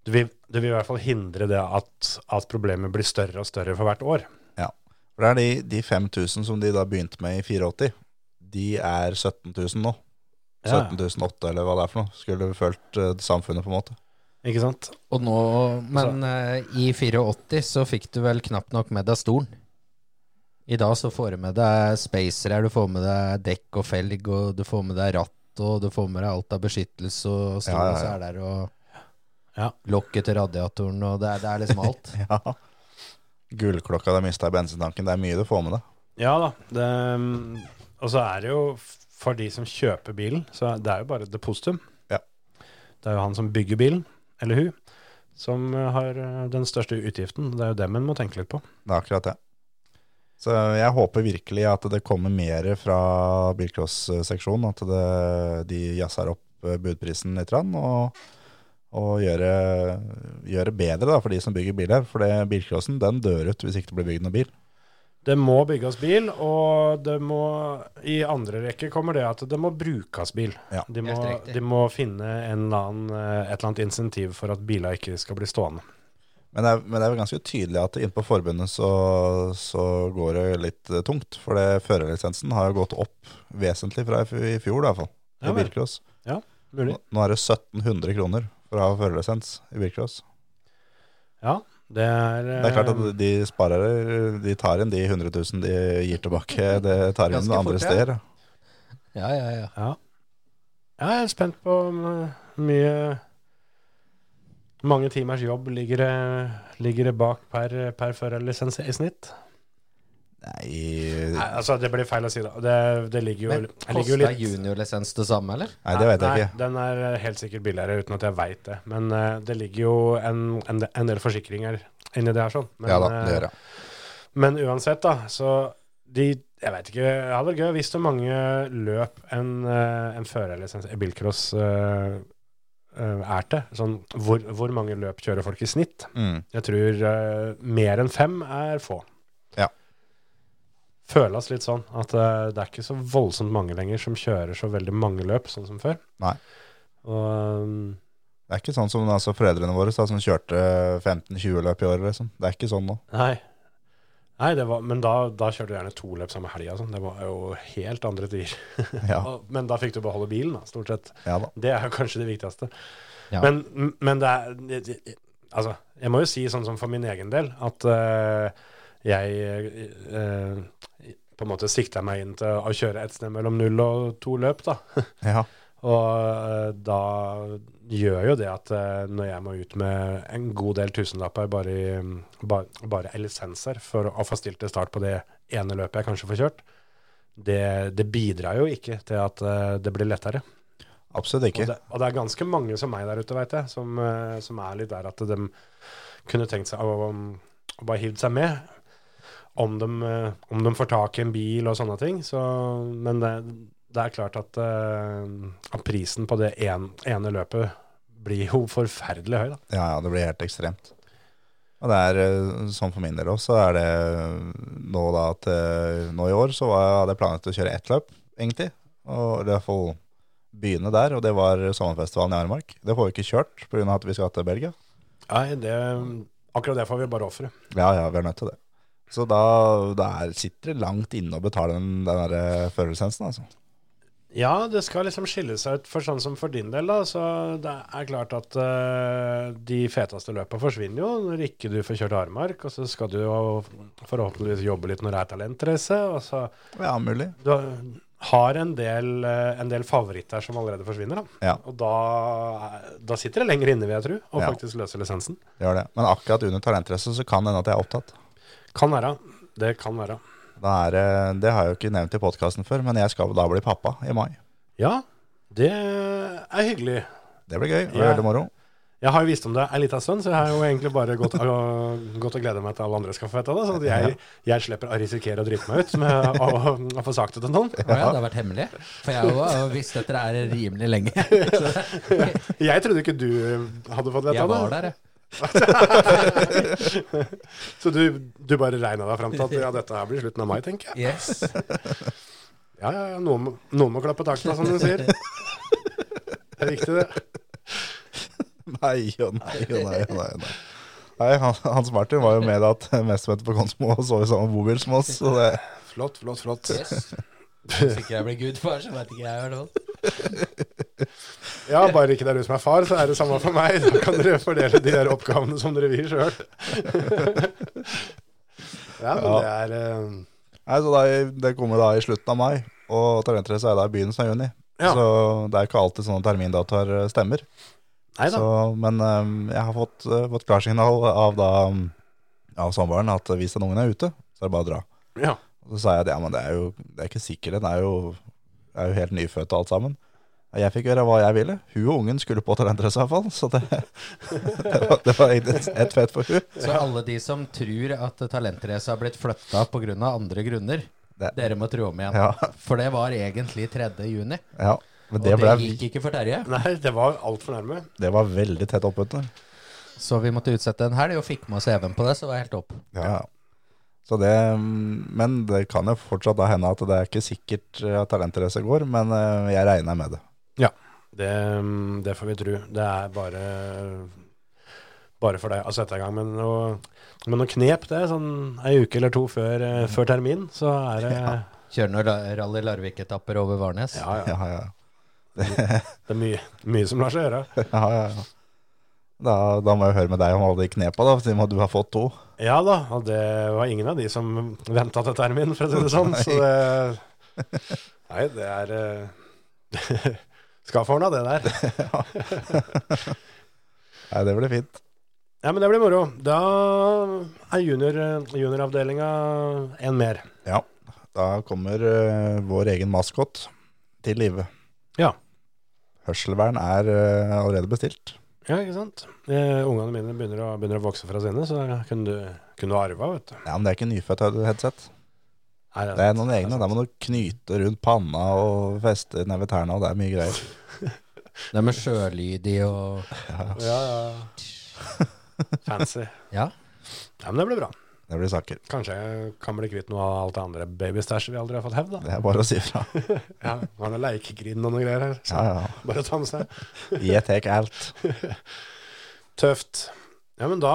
Speaker 3: du vil, du vil i hvert fall hindre det at, at problemet blir større og større for hvert år.
Speaker 5: For det er de, de 5000 som de da begynte med i 84, de er 17 000 nå.
Speaker 3: Ja.
Speaker 5: 17.008 eller hva det er for noe. Skulle følt eh, samfunnet på en måte.
Speaker 3: Ikke sant?
Speaker 4: Og nå, men eh, i 84 så fikk du vel knapt nok med deg stolen. I dag så får du med deg spacer her, du får med deg dekk og felg, og du får med deg ratt, og du får med deg alt av beskyttelse, og stol
Speaker 5: Ja, ja,
Speaker 4: og så
Speaker 5: ja.
Speaker 4: er der, og
Speaker 3: Ja.
Speaker 4: lokket til radiatoren, og det er, det er liksom alt.
Speaker 5: Ja. Gullklokka du mista i bensintanken, det er mye du får med deg.
Speaker 3: Ja da. Det, og så er det jo for de som kjøper bilen, så er det er jo bare et depositum.
Speaker 5: Ja.
Speaker 3: Det er jo han som bygger bilen, eller hun. som eh, har eh, den største utgiften. Det er jo dem en må tenke litt på.
Speaker 5: Det er akkurat det. Så jeg håper virkelig at det kommer mer fra bilcross-seksjonen, at det, de jazzer opp eh, budprisen litt, grann, og, og gjør det- gjør det bedre da, for de som bygger biler. For det, bilcrossen den dør ut hvis ikke det blir bygd noen bil.
Speaker 3: Det må bygges bil, og det må I andre rekke kommer det at det må brukes bil.
Speaker 5: Ja.
Speaker 3: De, må,
Speaker 4: Helt riktig.
Speaker 3: de må finne en eller annen, eh, et eller annet insentiv for at biler ikke skal bli stående.
Speaker 5: Men det, er, men det er vel ganske tydelig at inne på forbundet så, så går det litt eh, tungt. For det, førerlisensen har jo gått opp vesentlig fra i f- i fjor, i hvert fall.
Speaker 3: Ja
Speaker 5: I
Speaker 3: vel.
Speaker 5: bilcross.
Speaker 3: Mulig.
Speaker 5: Nå nå er det 1700 kroner for å ha førerlisens i bilcross.
Speaker 3: Ja, det er eh,
Speaker 5: Det er klart at de sparer De tar inn de 100 000 de gir tilbake. Det tar inn
Speaker 4: Ganske
Speaker 5: andre
Speaker 4: fort, ja.
Speaker 5: steder.
Speaker 4: Ja, ja, ja.
Speaker 3: Ja. Jeg er spent på om eh, mye Mange timers jobb ligger det, ligger det bak per, per førerlisens i snitt? Nei,
Speaker 5: Nei,
Speaker 3: altså, det blir feil å si, da. Det, det ligger jo,
Speaker 4: Men
Speaker 3: jeg ligger jo
Speaker 4: kosta
Speaker 3: litt
Speaker 4: juniorlisens det samme, eller?
Speaker 5: nei det vet jeg ikke.
Speaker 3: Den er eh, helt sikkert billigere, uten at jeg veit det. Men eh, det ligger jo en, en, en del forsikringer inni det her, sånn. Men,
Speaker 5: Ja da,
Speaker 4: eh,
Speaker 5: det gjør jeg.
Speaker 3: Men uansett, da, så de Jeg vet ikke, det hadde vært gøy hvis hvor mange løp en, eh, en førerlisens i bilcross eh, eh, er til. Sånn, hvor, hvor mange løp kjører folk i snitt?
Speaker 5: Mm.
Speaker 3: Jeg tror eh, mer enn fem er få.
Speaker 5: Ja.
Speaker 3: Føles litt sånn at eh, det er ikke så voldsomt mange lenger som kjører så veldig mange løp, sånn som før.
Speaker 5: Nei.
Speaker 3: Og ehm,
Speaker 5: Det er ikke sånn som altså, foreldrene våre sa, som kjørte 15-20 løp i året. Liksom. Det er ikke sånn nå.
Speaker 3: Nei. Nei, det var, men da, da kjørte du gjerne to løp samme helg. Altså. Det var jo helt andre tider.
Speaker 5: Ja,
Speaker 3: Og- Men da fikk du beholde bilen, da, stort sett.
Speaker 5: ja da.
Speaker 3: Det er jo kanskje det viktigste.
Speaker 4: Ja.
Speaker 3: Men, men det er det- det- Altså, jeg må jo si sånn som for min egen del at eh, jeg eh, på en måte sikta meg inn til å kjøre et sted mellom null og to løp, da.
Speaker 5: Ja.
Speaker 3: Og eh, da gjør jo det at eh, når jeg må ut med en god del tusenlapper bare, i, mm, ba, bare i lisenser for å få stilt til start på det ene løpet jeg kanskje får kjørt, det, det bidrar jo ikke til at eh, det blir lettere.
Speaker 5: Absolutt
Speaker 3: Og
Speaker 5: ikke.
Speaker 3: det, og det er ganske mange som meg der ute, veit jeg, som, eh, som er litt der at de kunne tenkt seg å, å bare hivd seg med. Om de, eh, om de får tak i en bil og sånne ting. Så, men det, det er klart at, eh, at prisen på det en, ene løpet blir jo forferdelig høy, da.
Speaker 5: Ja, ja, det blir helt ekstremt. Og det er eh, sånn for min del også, så er det eh, nå da at eh, nå i år så var, hadde jeg planlagt å kjøre ett løp, egentlig. Og eller i hvert fall begynne der, og det var sommerfestivalen i Armark. Det får vi ikke kjørt pga. at vi skal til Belgia.
Speaker 3: Nei, det, akkurat det får vi bare ofre.
Speaker 5: Ja, ja, vi er nødt til det. Så da, da er, sitter det langt inne å betale den, den der førerlisensen, altså.
Speaker 3: Ja, det skal liksom skille seg ut for sånn som for din del, da. Så det er klart at eh, de feteste løpa forsvinner jo når ikke du får kjørt Armark, og så skal du jo forhåpentligvis jobbe litt når det er talentrace. Og så
Speaker 5: Ja, mulig.
Speaker 3: du har en del, eh, en del favoritter som allerede forsvinner, da.
Speaker 5: Ja.
Speaker 3: Og da, da sitter det lenger inne, vil jeg tro, og
Speaker 5: Ja.
Speaker 3: faktisk løser lisensen.
Speaker 5: Det var det. Men akkurat under talentrace så kan det hende at jeg er opptatt.
Speaker 3: Kan være. Det kan være.
Speaker 5: Da er, det- det har jeg jo ikke nevnt i podkasten før, men jeg skal da bli pappa i mai.
Speaker 3: Ja, det er hyggelig.
Speaker 5: Det blir gøy. og
Speaker 3: Ja.
Speaker 5: Veldig moro.
Speaker 3: Jeg har jo visst om det en liten stund, så jeg har jo egentlig bare gått og, gått og gleda meg til alle andre skal få vite det. Så at jeg, jeg slipper å risikere å drite meg ut med å, å, å få sagt det til noen.
Speaker 4: Å ja, det har vært hemmelig? For jeg har jo visst dette her rimelig lenge.
Speaker 3: Jeg trodde ikke du hadde fått vite
Speaker 4: Jeg var
Speaker 3: det.
Speaker 4: der, jeg.
Speaker 3: Så du, du bare regna deg fram til at ja, dette her blir slutten av mai, tenker jeg.
Speaker 4: Yes.
Speaker 3: Ja, ja, ja, noen, må- noen må klappe takta, som du sier. Det er riktig, det.
Speaker 5: Nei og nei og nei. og nei, og nei. nei han, Hans Martin var jo med da at mestermøtet på Konsmo og så i samme bobil som oss. Så det,
Speaker 3: Flott, flott, flott.
Speaker 4: yes. Hvis ikke jeg blir gudfar, så veit ikke jeg i hvert fall.
Speaker 3: Ja, bare ikke det er du som er far, så er det samme for meg. Da kan dere fordele de der oppgavene som dere vil sjøl. Ja, men det er eh,
Speaker 5: nei, så da, i- det kommer da i slutten av mai, og talentrace er da i begynnelsen av juni.
Speaker 3: Ja.
Speaker 5: Så det er ikke alltid sånne termindatoer eh, stemmer.
Speaker 3: Nei da.
Speaker 5: Så, men øhm, jeg har fått, øh, fått klarsignal av, da, øhm, av samboeren at hvis den ungen er ute, så er det bare å dra.
Speaker 3: Ja.
Speaker 5: Og så sa jeg at ja, men det er jo det er ikke sikkert, den er jo, er jo helt nyfødt og alt sammen. Jeg fikk gjøre hva jeg ville. Hun og ungen skulle på talentrace i hvert fall, så det, det, var, det var egentlig et fett for hun.
Speaker 4: Så alle de som tror at talentrace har blitt flytta pga. andre grunner,
Speaker 5: Det-
Speaker 4: dere må tro om igjen.
Speaker 5: Ja.
Speaker 4: For det var egentlig 3. juni.
Speaker 5: Ja, men
Speaker 4: Og
Speaker 5: det,
Speaker 4: det,
Speaker 5: ble,
Speaker 4: gikk ikke for Terje,
Speaker 3: Nei, det var altfor nærme.
Speaker 5: det var veldig tett oppunder.
Speaker 4: så vi måtte utsette en helg og fikk med oss Even på det, så det var helt opp.
Speaker 5: Ja. Så det, men det kan jo fortsatt da hende at det er ikke sikkert at talentrace går, men eh, jeg regner med det.
Speaker 3: Ja, det, mm, det får vi tro. Det er bare bare for deg å sette i gang. Men noe, men noe knep, det, sånn ei uke eller to før, eh, før termin, så er det ja.
Speaker 4: Kjøre noen ra- Rally Larvik-etapper over Varnes.
Speaker 3: Ja,
Speaker 5: Ja, ja.
Speaker 3: Det er mye, mye som lar seg gjøre.
Speaker 5: ja, ja, ja. Da, da må jeg høre med deg om alle de knepa, da, siden du har fått to.
Speaker 3: Ja da, og det var ingen av de som venta til termin, for å si det sånn. Så det Nei, det er eh, Skal få ordna det der.
Speaker 5: Nei, det blir fint.
Speaker 3: Ja, men det blir moro. Da er junior, eh, junioravdelinga en mer.
Speaker 5: Ja, da kommer eh, vår egen maskott til live.
Speaker 3: Ja.
Speaker 5: Hørselvern er eh, allerede bestilt.
Speaker 3: Ja, ikke sant? Eh, ungene mine begynner å, begynner å vokse fra sine, så da kunne du, kunne du arva, vet du.
Speaker 5: Ja, men det er ikke nyfødt headset.
Speaker 3: Nei,
Speaker 5: Det er noen egne. Da må du knyte rundt panna og feste ned ved tærne, og det er mye greier.
Speaker 4: Det er med sjølydig og
Speaker 3: sant. Ja, ja. Fancy.
Speaker 4: Ja.
Speaker 3: Ja, men det blir bra.
Speaker 5: Det blir saker.
Speaker 3: Kanskje jeg kan bli kvitt noe av alt det andre babystæsjet vi aldri har fått hevd, da.
Speaker 5: Det er bare å si fra.
Speaker 3: Ja, Har noe leikegrind og noe greier her.
Speaker 5: Ja,
Speaker 3: Så
Speaker 5: ja.
Speaker 3: bare ta med seg.
Speaker 5: Jeg tek alt.
Speaker 3: Tøft. Ja, men da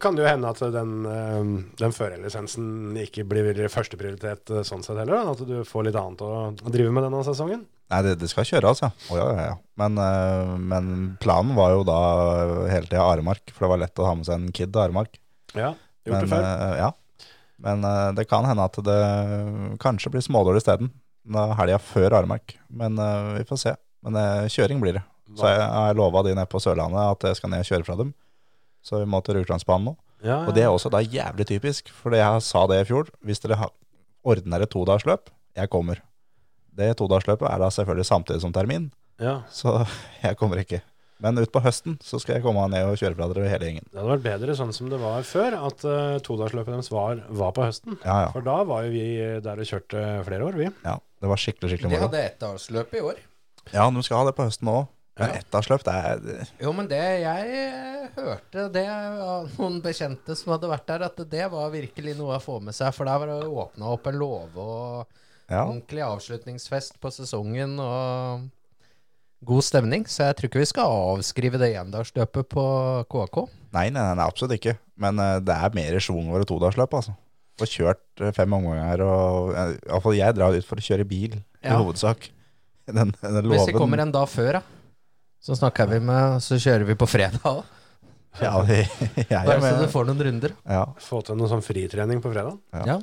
Speaker 3: kan det jo hende at den, eh, den førerlisensen ikke blir førsteprioritet eh, sånn sett heller. Da. At du får litt annet å å drive med denne sesongen.
Speaker 5: Nei, det, det skal kjøres, ja. Å, ja, ja, ja. Men, eh, men planen var jo da eh, hele tida aremark, for det var lett å ha med seg en kid til aremark.
Speaker 3: Ja, gjort
Speaker 5: Men,
Speaker 3: det før.
Speaker 5: eh, ja. Men eh, det kan hende at det kanskje blir smådål isteden. Da er Helga før Aremark. Men eh, vi får se. Men eh, kjøring blir det. Så jeg har lova de nede på Sørlandet at jeg skal ned og kjøre fra dem. Så vi må til Ruglandsbanen nå.
Speaker 3: Ja,
Speaker 5: eh, Og det er også da jævlig typisk, for jeg sa det i fjor. Hvis dere har- ordner et todagersløp, jeg kommer. Det todagersløpet er da selvfølgelig samtidig som termin,
Speaker 3: ja.
Speaker 5: så jeg kommer ikke. Men utpå høsten så skal jeg komme ned og kjøre fra dere hele gjengen.
Speaker 3: Det hadde vært bedre sånn som det var før, at uh, todagersløpet deres var, var på høsten.
Speaker 5: Ja, ja.
Speaker 3: For da var jo vi der og kjørte flere år, vi.
Speaker 5: ja det var skikkelig, skikkelig
Speaker 4: De
Speaker 5: moro.
Speaker 4: hadde ettdagsløp i år.
Speaker 5: Ja, men du skal ha det på høsten òg. Men
Speaker 3: Ja.
Speaker 5: ettdagsløp, det er
Speaker 4: Jo, men det jeg eh, hørte det av noen bekjente som hadde vært der, at det var virkelig noe å få med seg. For der var det åpna opp en låve og
Speaker 5: Ja,
Speaker 4: ordentlig avslutningsfest på sesongen og god stemning. Så jeg tror ikke vi skal avskrive det endagsløpet på KK.
Speaker 5: nei, nei, nei, nei, absolutt ikke. Men eh, det er mer schwung over et todagersløp, altså. Få kjørt eh, fem omganger, og eh, i hvert fall jeg drar ut for å kjøre bil, i
Speaker 4: Ja.
Speaker 5: hovedsak. Den, den låven
Speaker 4: Hvis vi kommer en dag før, da. Så snakker vi med Så kjører vi på fredag òg.
Speaker 5: Ja, vi, jeg,
Speaker 4: Bare
Speaker 5: er
Speaker 4: så du
Speaker 5: med.
Speaker 4: får noen runder.
Speaker 5: Ja.
Speaker 3: Få til noe sånn fritrening på fredag.
Speaker 5: Ja.
Speaker 4: Ja.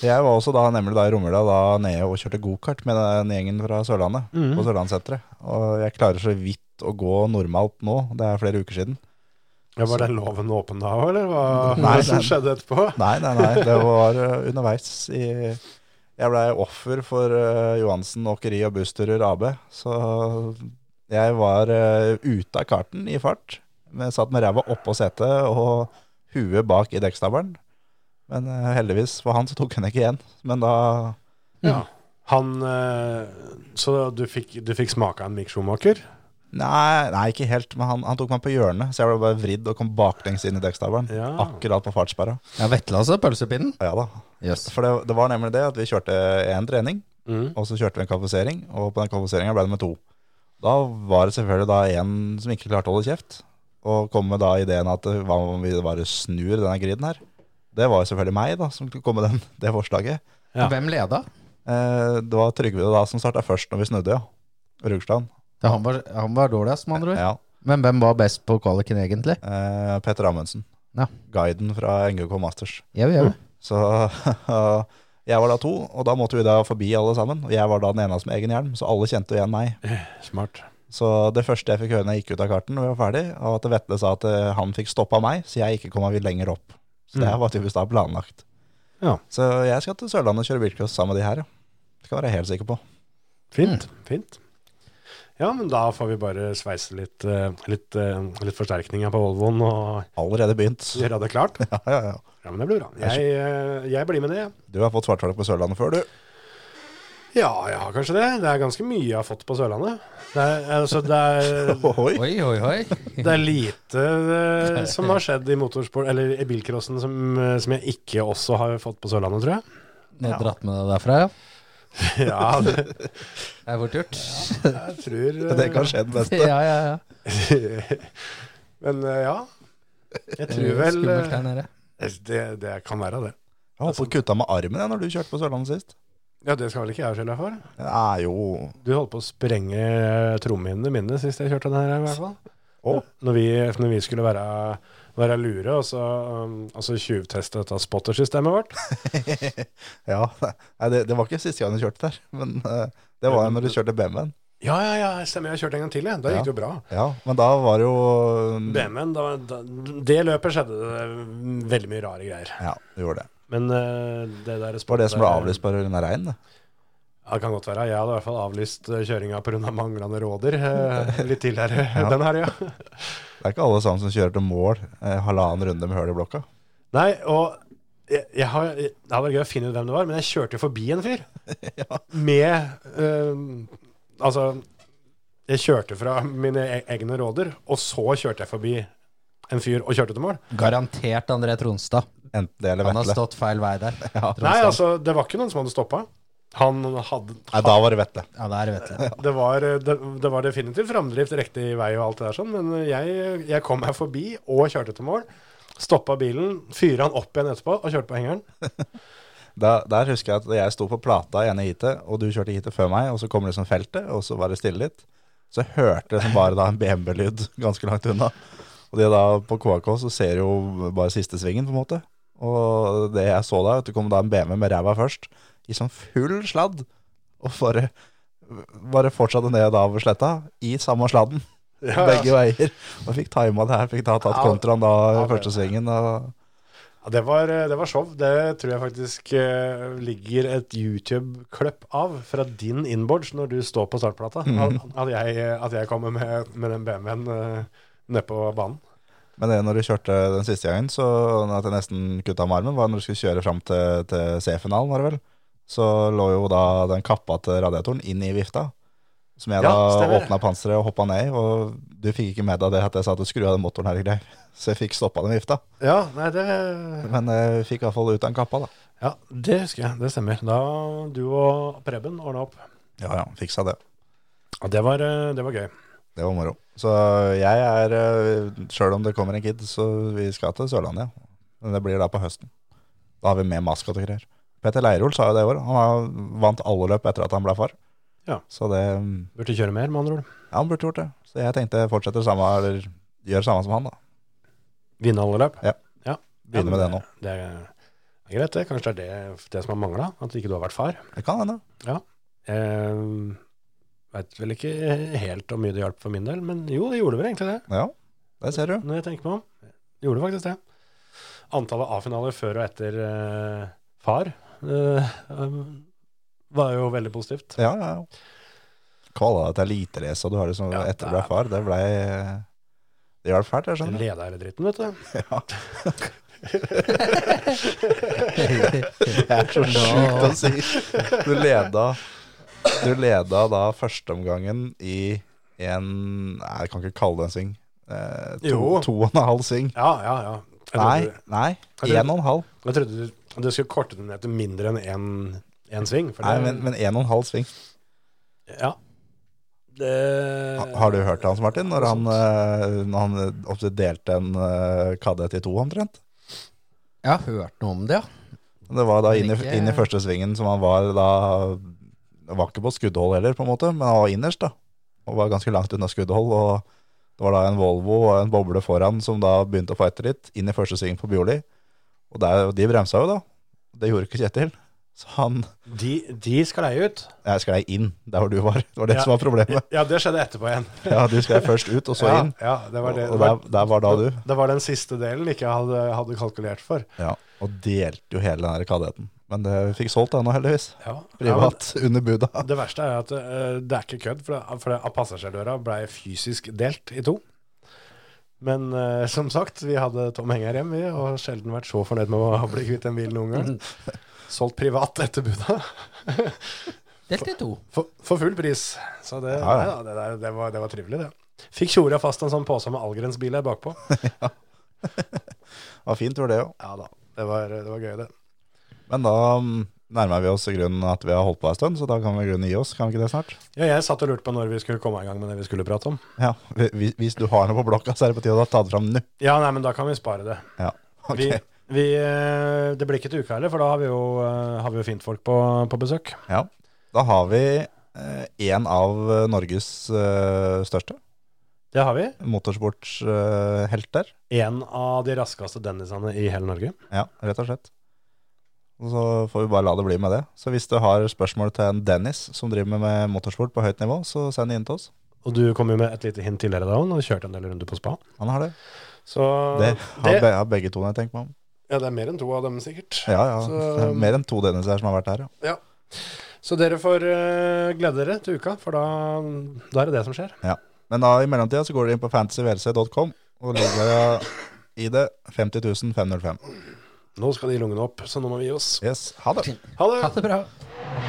Speaker 5: jeg var også da nemlig da i Romula da nede og kjørte gokart med den gjengen fra Sørlandet.
Speaker 4: Mm.
Speaker 5: På Sørlandssenteret. Og jeg klarer så vidt å gå normalt nå. Det er flere uker siden.
Speaker 3: Ja, var den loven åpen da òg, eller hva hva
Speaker 5: Nei,
Speaker 3: som
Speaker 5: den-
Speaker 3: skjedde etterpå?
Speaker 5: Nei, nei, nei. Det var eh, underveis i Jeg blei offer for eh, Johansen Åkeri og Bussturer AB. Så jeg var eh, ute av karten i fart. Men jeg satt med ræva oppå setet og huet bak i dekkstabelen. Men eh, heldigvis for han så tok han ikke igjen. Men da
Speaker 3: Ja. Han eh, Så du fikk, du fikk smake av en Mick Schumacher?
Speaker 5: Nei, nei ikke helt. Men han, han tok meg på hjørnet, så jeg ble bare vridd og kom baklengs inn i dekkstabelen.
Speaker 3: Ja.
Speaker 5: Akkurat på fartssperra.
Speaker 4: ja Vetle altså, pølsepinnen.
Speaker 5: Ja da.
Speaker 4: Jøss.
Speaker 5: For det, det var nemlig det at vi kjørte én trening.
Speaker 3: Mm.
Speaker 5: Og så kjørte vi en kvalifisering, og på den kvalifiseringa ble det med to. Da var det selvfølgelig da en som ikke klarte å holde kjeft, og kom med da ideen at eh, hva om vi bare snur denne griden her? Det var jo selvfølgelig meg da, som kom med den, det forslaget.
Speaker 3: Ja.
Speaker 4: Hvem leda?
Speaker 5: Eh, det var Trygve da som starta først når vi snudde, ja. Rugstad.
Speaker 4: Ja, han, var, han var dårligst, med andre ord.
Speaker 5: Ja.
Speaker 4: Men hvem var best på kvaliken, egentlig?
Speaker 5: Eh, Petter Amundsen.
Speaker 4: Ja.
Speaker 5: Guiden fra NGK Masters.
Speaker 4: Jau, jau.
Speaker 5: Så jeg var da to, og da måtte vi da forbi alle sammen. Og jeg var da den eneste med egen hjelm, så alle kjente jo igjen meg.
Speaker 3: Smart.
Speaker 5: Så det første jeg fikk høre når jeg gikk ut av karten, når vi var ferdig, var at Vetle sa at eh, han fikk stoppa meg, så jeg ikke kom meg lenger opp. Så det her var tydeligvis da planlagt.
Speaker 3: Ja.
Speaker 5: Så jeg skal til Sørlandet og kjøre bilcross sammen med de her, ja. Det kan jeg være helt sikker på.
Speaker 3: Fint. Fint. Ja, men da får vi bare sveise litt, eh, litt, eh, litt forsterkninger på Volvoen og
Speaker 5: Allerede begynt. Ja,
Speaker 3: gjøre det klart.
Speaker 5: ja, ja.
Speaker 3: Ja, men det blir bra. Jeg, eh, jeg blir med det, jeg.
Speaker 5: Du har fått svarttalk på Sørlandet før, du.
Speaker 3: Ja, jeg har kanskje det. Det er ganske mye jeg har fått på Sørlandet. Det er, altså, det er,
Speaker 5: Oi.
Speaker 4: Oi, oi, oi.
Speaker 3: det er lite eh, som har skjedd i motorsport, eller i bilcrossen, som, eh, som jeg ikke også har fått på Sørlandet, tror jeg.
Speaker 4: Nå dratt med deg derfra, ja.
Speaker 3: Ja, det,
Speaker 4: Det er fort gjort.
Speaker 3: jeg tror eh,
Speaker 5: Det kan skje den beste.
Speaker 4: Ja, ja, ja.
Speaker 3: Men eh, ja, jeg
Speaker 4: Det
Speaker 3: tror
Speaker 4: er
Speaker 3: vel
Speaker 4: Skummelt
Speaker 3: eh,
Speaker 4: her nede.
Speaker 3: det, det kan være det.
Speaker 5: Jeg holdt på å kutte av med armen jeg, når du kjørte på Sørlandet sist.
Speaker 3: Ja, det skal vel ikke jeg skylde for.
Speaker 5: Ja, jo.
Speaker 3: Du holdt på å sprenge eh, trommehinnene mine sist jeg kjørte den her, i hvert fall.
Speaker 5: Å.
Speaker 3: Når, vi, når vi skulle være, være lure, og så, um, og så tjuvteste dette spottersystemet vårt.
Speaker 5: Ja, nei, det, det var ikke siste gang du kjørte der, men eh, det var jo når du kjørte BMW-en.
Speaker 3: Ja, ja, ja, stemmer, jeg kjørte en gang til, jeg. Da
Speaker 5: Ja.
Speaker 3: gikk det jo bra.
Speaker 5: Ja, men da var det jo
Speaker 3: BMW-en, da, da, det løpet skjedde det veldig mye rare greier.
Speaker 5: Ja, du gjorde det.
Speaker 3: Men eh, det der
Speaker 5: Det var det som ble avlyst på grunn av regn. det.
Speaker 3: Ja, det kan godt være. Jeg hadde i hvert fall avlyst eh, kjøringa pga. manglende råder eh, litt tidligere den helga.
Speaker 5: Det er ikke alle sammen som kjører til mål eh, halvannen runde med høl i blokka.
Speaker 3: Nei, og jeg, jeg har, jeg, det hadde vært gøy å finne ut hvem det var, men jeg kjørte jo forbi en fyr. Med eh, Altså, jeg kjørte fra mine e- egne råder, og så kjørte jeg forbi en fyr og kjørte til mål.
Speaker 4: Garantert André Tronstad.
Speaker 5: Enten det eller
Speaker 4: Han har
Speaker 5: Vetle.
Speaker 4: stått feil vei der.
Speaker 3: Nei, altså, det var ikke noen som hadde stoppa. Han hadde
Speaker 5: Nei, da var det Vetle.
Speaker 4: Ja, der vet jeg.
Speaker 3: det var, eh, det, det var definitivt framdrift riktig vei og alt det der sånn, men jeg, jeg kom meg forbi og kjørte til mål. Stoppa bilen, fyra han opp igjen etterpå og kjørte på hengeren.
Speaker 5: Da, der husker jeg at jeg sto på plata i ene heatet, og du kjørte heatet før meg, og så kommer det som feltet, og så var det stille litt. Så jeg hørte liksom bare da en BMW-lyd ganske langt unna. Og det da på KAK så ser du jo bare siste svingen, på en måte. Og det jeg så da, at det kom da en BMW med ræva først, i sånn full sladd, og bare, bare fortsatte ned da over sletta, i samme sladden,
Speaker 3: Ja,
Speaker 5: begge veier. Og fikk tima det her, fikk da tatt
Speaker 3: Ja,
Speaker 5: kontraen da i
Speaker 3: ja, det-
Speaker 5: første svingen. Og
Speaker 3: Ja, det, var, eh, det var show. Det tror jeg faktisk eh, ligger et YouTube-kløpp av fra din inboards når du står på startplata. At, at, jeg, eh, at jeg kommer med, med den BMW-en eh, ned på banen.
Speaker 5: Men det når du kjørte den siste gangen, så at jeg nesten kutta med armen, var når du skulle kjøre fram til, til C-finalen, var det vel. Så lå jo da den kappa til radiatoren inn i vifta. Som jeg
Speaker 3: Ja,
Speaker 5: da
Speaker 3: stemmer.
Speaker 5: åpna panseret og hoppa ned i, og du fikk ikke med deg det at jeg sa at du skru av den motoren her og greier. Så jeg fikk stoppa den vifta.
Speaker 3: Ja, nei, det
Speaker 5: Men jeg fikk iallfall ut den kappa, da.
Speaker 3: Ja, det husker jeg. Det stemmer. Da du og Preben ordna opp.
Speaker 5: Ja ja, fiksa det.
Speaker 3: Ja, det var, eh, det var gøy.
Speaker 5: Det var moro. Så jeg er Sjøl om det kommer en kid, så vi skal til Sørlandet, ja. Men det blir da på høsten. Da har vi med maskot og greier. Petter Leirol sa jo det i år. Han har vant alle løp etter at han ble far.
Speaker 3: Ja.
Speaker 5: Så det Ja,
Speaker 3: Burde kjøre mer, med andre ord.
Speaker 5: han burde gjort det. Så jeg tenkte jeg fortsetter samme, eller gjør samme som han, da.
Speaker 3: Vinne alle løp?
Speaker 5: Ja.
Speaker 3: ja.
Speaker 5: Begynner med det nå.
Speaker 3: Det er, det er greit, det. Kanskje det er det, det som har mangla, at ikke du har vært far.
Speaker 5: Det kan hende.
Speaker 3: Eh, Veit vel ikke helt hvor mye det hjalp for min del, men jo, det gjorde vel egentlig det,
Speaker 5: Ja, der ser du.
Speaker 3: når jeg tenker meg om. Det Gjorde faktisk det. Antallet A-finaler før og etter eh, far eh, um, var jo veldig positivt.
Speaker 5: Ja, ja, ja. Kvala deg til eliterace, og du har det som
Speaker 3: Ja,
Speaker 5: etter du ble far. Det blei Det hjalp fælt, jeg skjønner.
Speaker 3: Leda hele dritten, vet du.
Speaker 5: Ja.
Speaker 4: Det
Speaker 5: Det er så sjukt å si. Du leda, du leda da førsteomgangen i en Nei, jeg kan ikke kalle det en sving. Eh, to,
Speaker 3: Jo.
Speaker 5: to og en halv sving.
Speaker 3: Ja, ja, ja. Jeg
Speaker 5: Nei,
Speaker 3: trodde,
Speaker 5: nei,
Speaker 3: Jeg tror-
Speaker 5: en og en halv.
Speaker 3: jeg trodde du, du skulle korte den ned til mindre enn én en, sving. for
Speaker 5: Nei,
Speaker 3: det-
Speaker 5: men, men en og en halv sving.
Speaker 3: Ja. Det...
Speaker 5: Ha- Har du hørt hans, Martin? Når han, eh, når han eh, opptil delte en eh, kadett i to, omtrent?
Speaker 4: Jeg har hørt noe om det, ja.
Speaker 5: Det var da inn i,
Speaker 4: Ikke-
Speaker 5: inn i første svingen som han var da Var ikke på skuddhold heller, på en måte, men han var innerst, da. Og var ganske langt unna skuddhold. Og det var da en Volvo og en boble foran som da begynte å få etter litt, inn i første sving på Bjorli. Og der, de bremsa jo, da. Det gjorde ikke Kjetil. Så han
Speaker 3: De, de sklei ut.
Speaker 5: Jeg sklei inn der hvor du var. Det var det
Speaker 3: Ja.
Speaker 5: som var problemet.
Speaker 3: Ja, det skjedde etterpå igjen.
Speaker 5: Ja, Du sklei først ut, og så
Speaker 3: ja,
Speaker 5: inn.
Speaker 3: ja, det var det.
Speaker 5: Og
Speaker 3: det var,
Speaker 5: der, der var da du.
Speaker 3: det var den siste delen ikke jeg hadde, hadde kalkulert for.
Speaker 5: Ja, Og delte jo hele den der kadetten. Men det vi fikk solgt den nå, heldigvis.
Speaker 3: Ja.
Speaker 5: Privat, under buda.
Speaker 3: Ja, men det verste er at eh, det er ikke kødd, for, det, for det, av passasjerdøra ble fysisk delt i to. Men eh, som sagt, vi hadde Tom Henger hjem, vi, og sjelden vært så fornøyd med å bli kvitt en bil noen gang. Solgt privat etter buda.
Speaker 4: Delt i to.
Speaker 3: For, for full pris. Så det,
Speaker 5: Ja, ja.
Speaker 3: nei da, det, der, det, var, det var trivelig, det. Fikk tjora fast en sånn påse med Allgrens bil her bakpå.
Speaker 5: Det var fint, var det òg.
Speaker 3: Ja da, det var, det var gøy, det.
Speaker 5: Men da mm, nærmer vi oss i grunnen at vi har holdt på en stund, så da kan vi i grunnen gi oss. Kan vi ikke det snart?
Speaker 3: Ja, jeg satt og lurte på når vi skulle komme i gang med det vi skulle prate om.
Speaker 5: Ja, vi- vi- Hvis du har noe på blokka, så er det på tide å ta det fram nå.
Speaker 3: Ja, nei, men da kan vi spare det.
Speaker 5: Ja, ok.
Speaker 3: Vi, vi, eh, det blir ikke til uka heller, for da har vi jo, eh, har vi jo fintfolk på, på besøk.
Speaker 5: Ja. Da har vi eh, en av eh, Norges eh, største
Speaker 3: Det har vi.
Speaker 5: motorsportshelter.
Speaker 3: En av de raskeste Dennisene i hele Norge.
Speaker 5: Ja, rett og slett. Og så får vi bare la det bli med det. Så hvis du har spørsmål til en Dennis som driver med motorsport på høyt nivå, så send det inn til oss.
Speaker 3: Og du kom jo med et lite hint tidligere da, når du kjørte en del runder på spa.
Speaker 5: Han har det.
Speaker 3: Så
Speaker 5: Det har,
Speaker 3: det-
Speaker 5: be, har begge to, når jeg tenker meg om.
Speaker 3: Ja, det er mer enn to av dem, sikkert.
Speaker 5: Ja, ja.
Speaker 3: Så-
Speaker 5: det er Mer enn to Denniser som har vært her, ja.
Speaker 3: Så dere får eh, glede dere til uka, for da, da er det det som skjer.
Speaker 5: Men da i mellomtida så går dere inn på fantasyvlc.com, og ligger det i det 50 505.
Speaker 3: Nå skal de lungene opp, så nå må vi gi oss.
Speaker 5: Yes, ha det.
Speaker 3: Ha det!
Speaker 4: Ha det bra.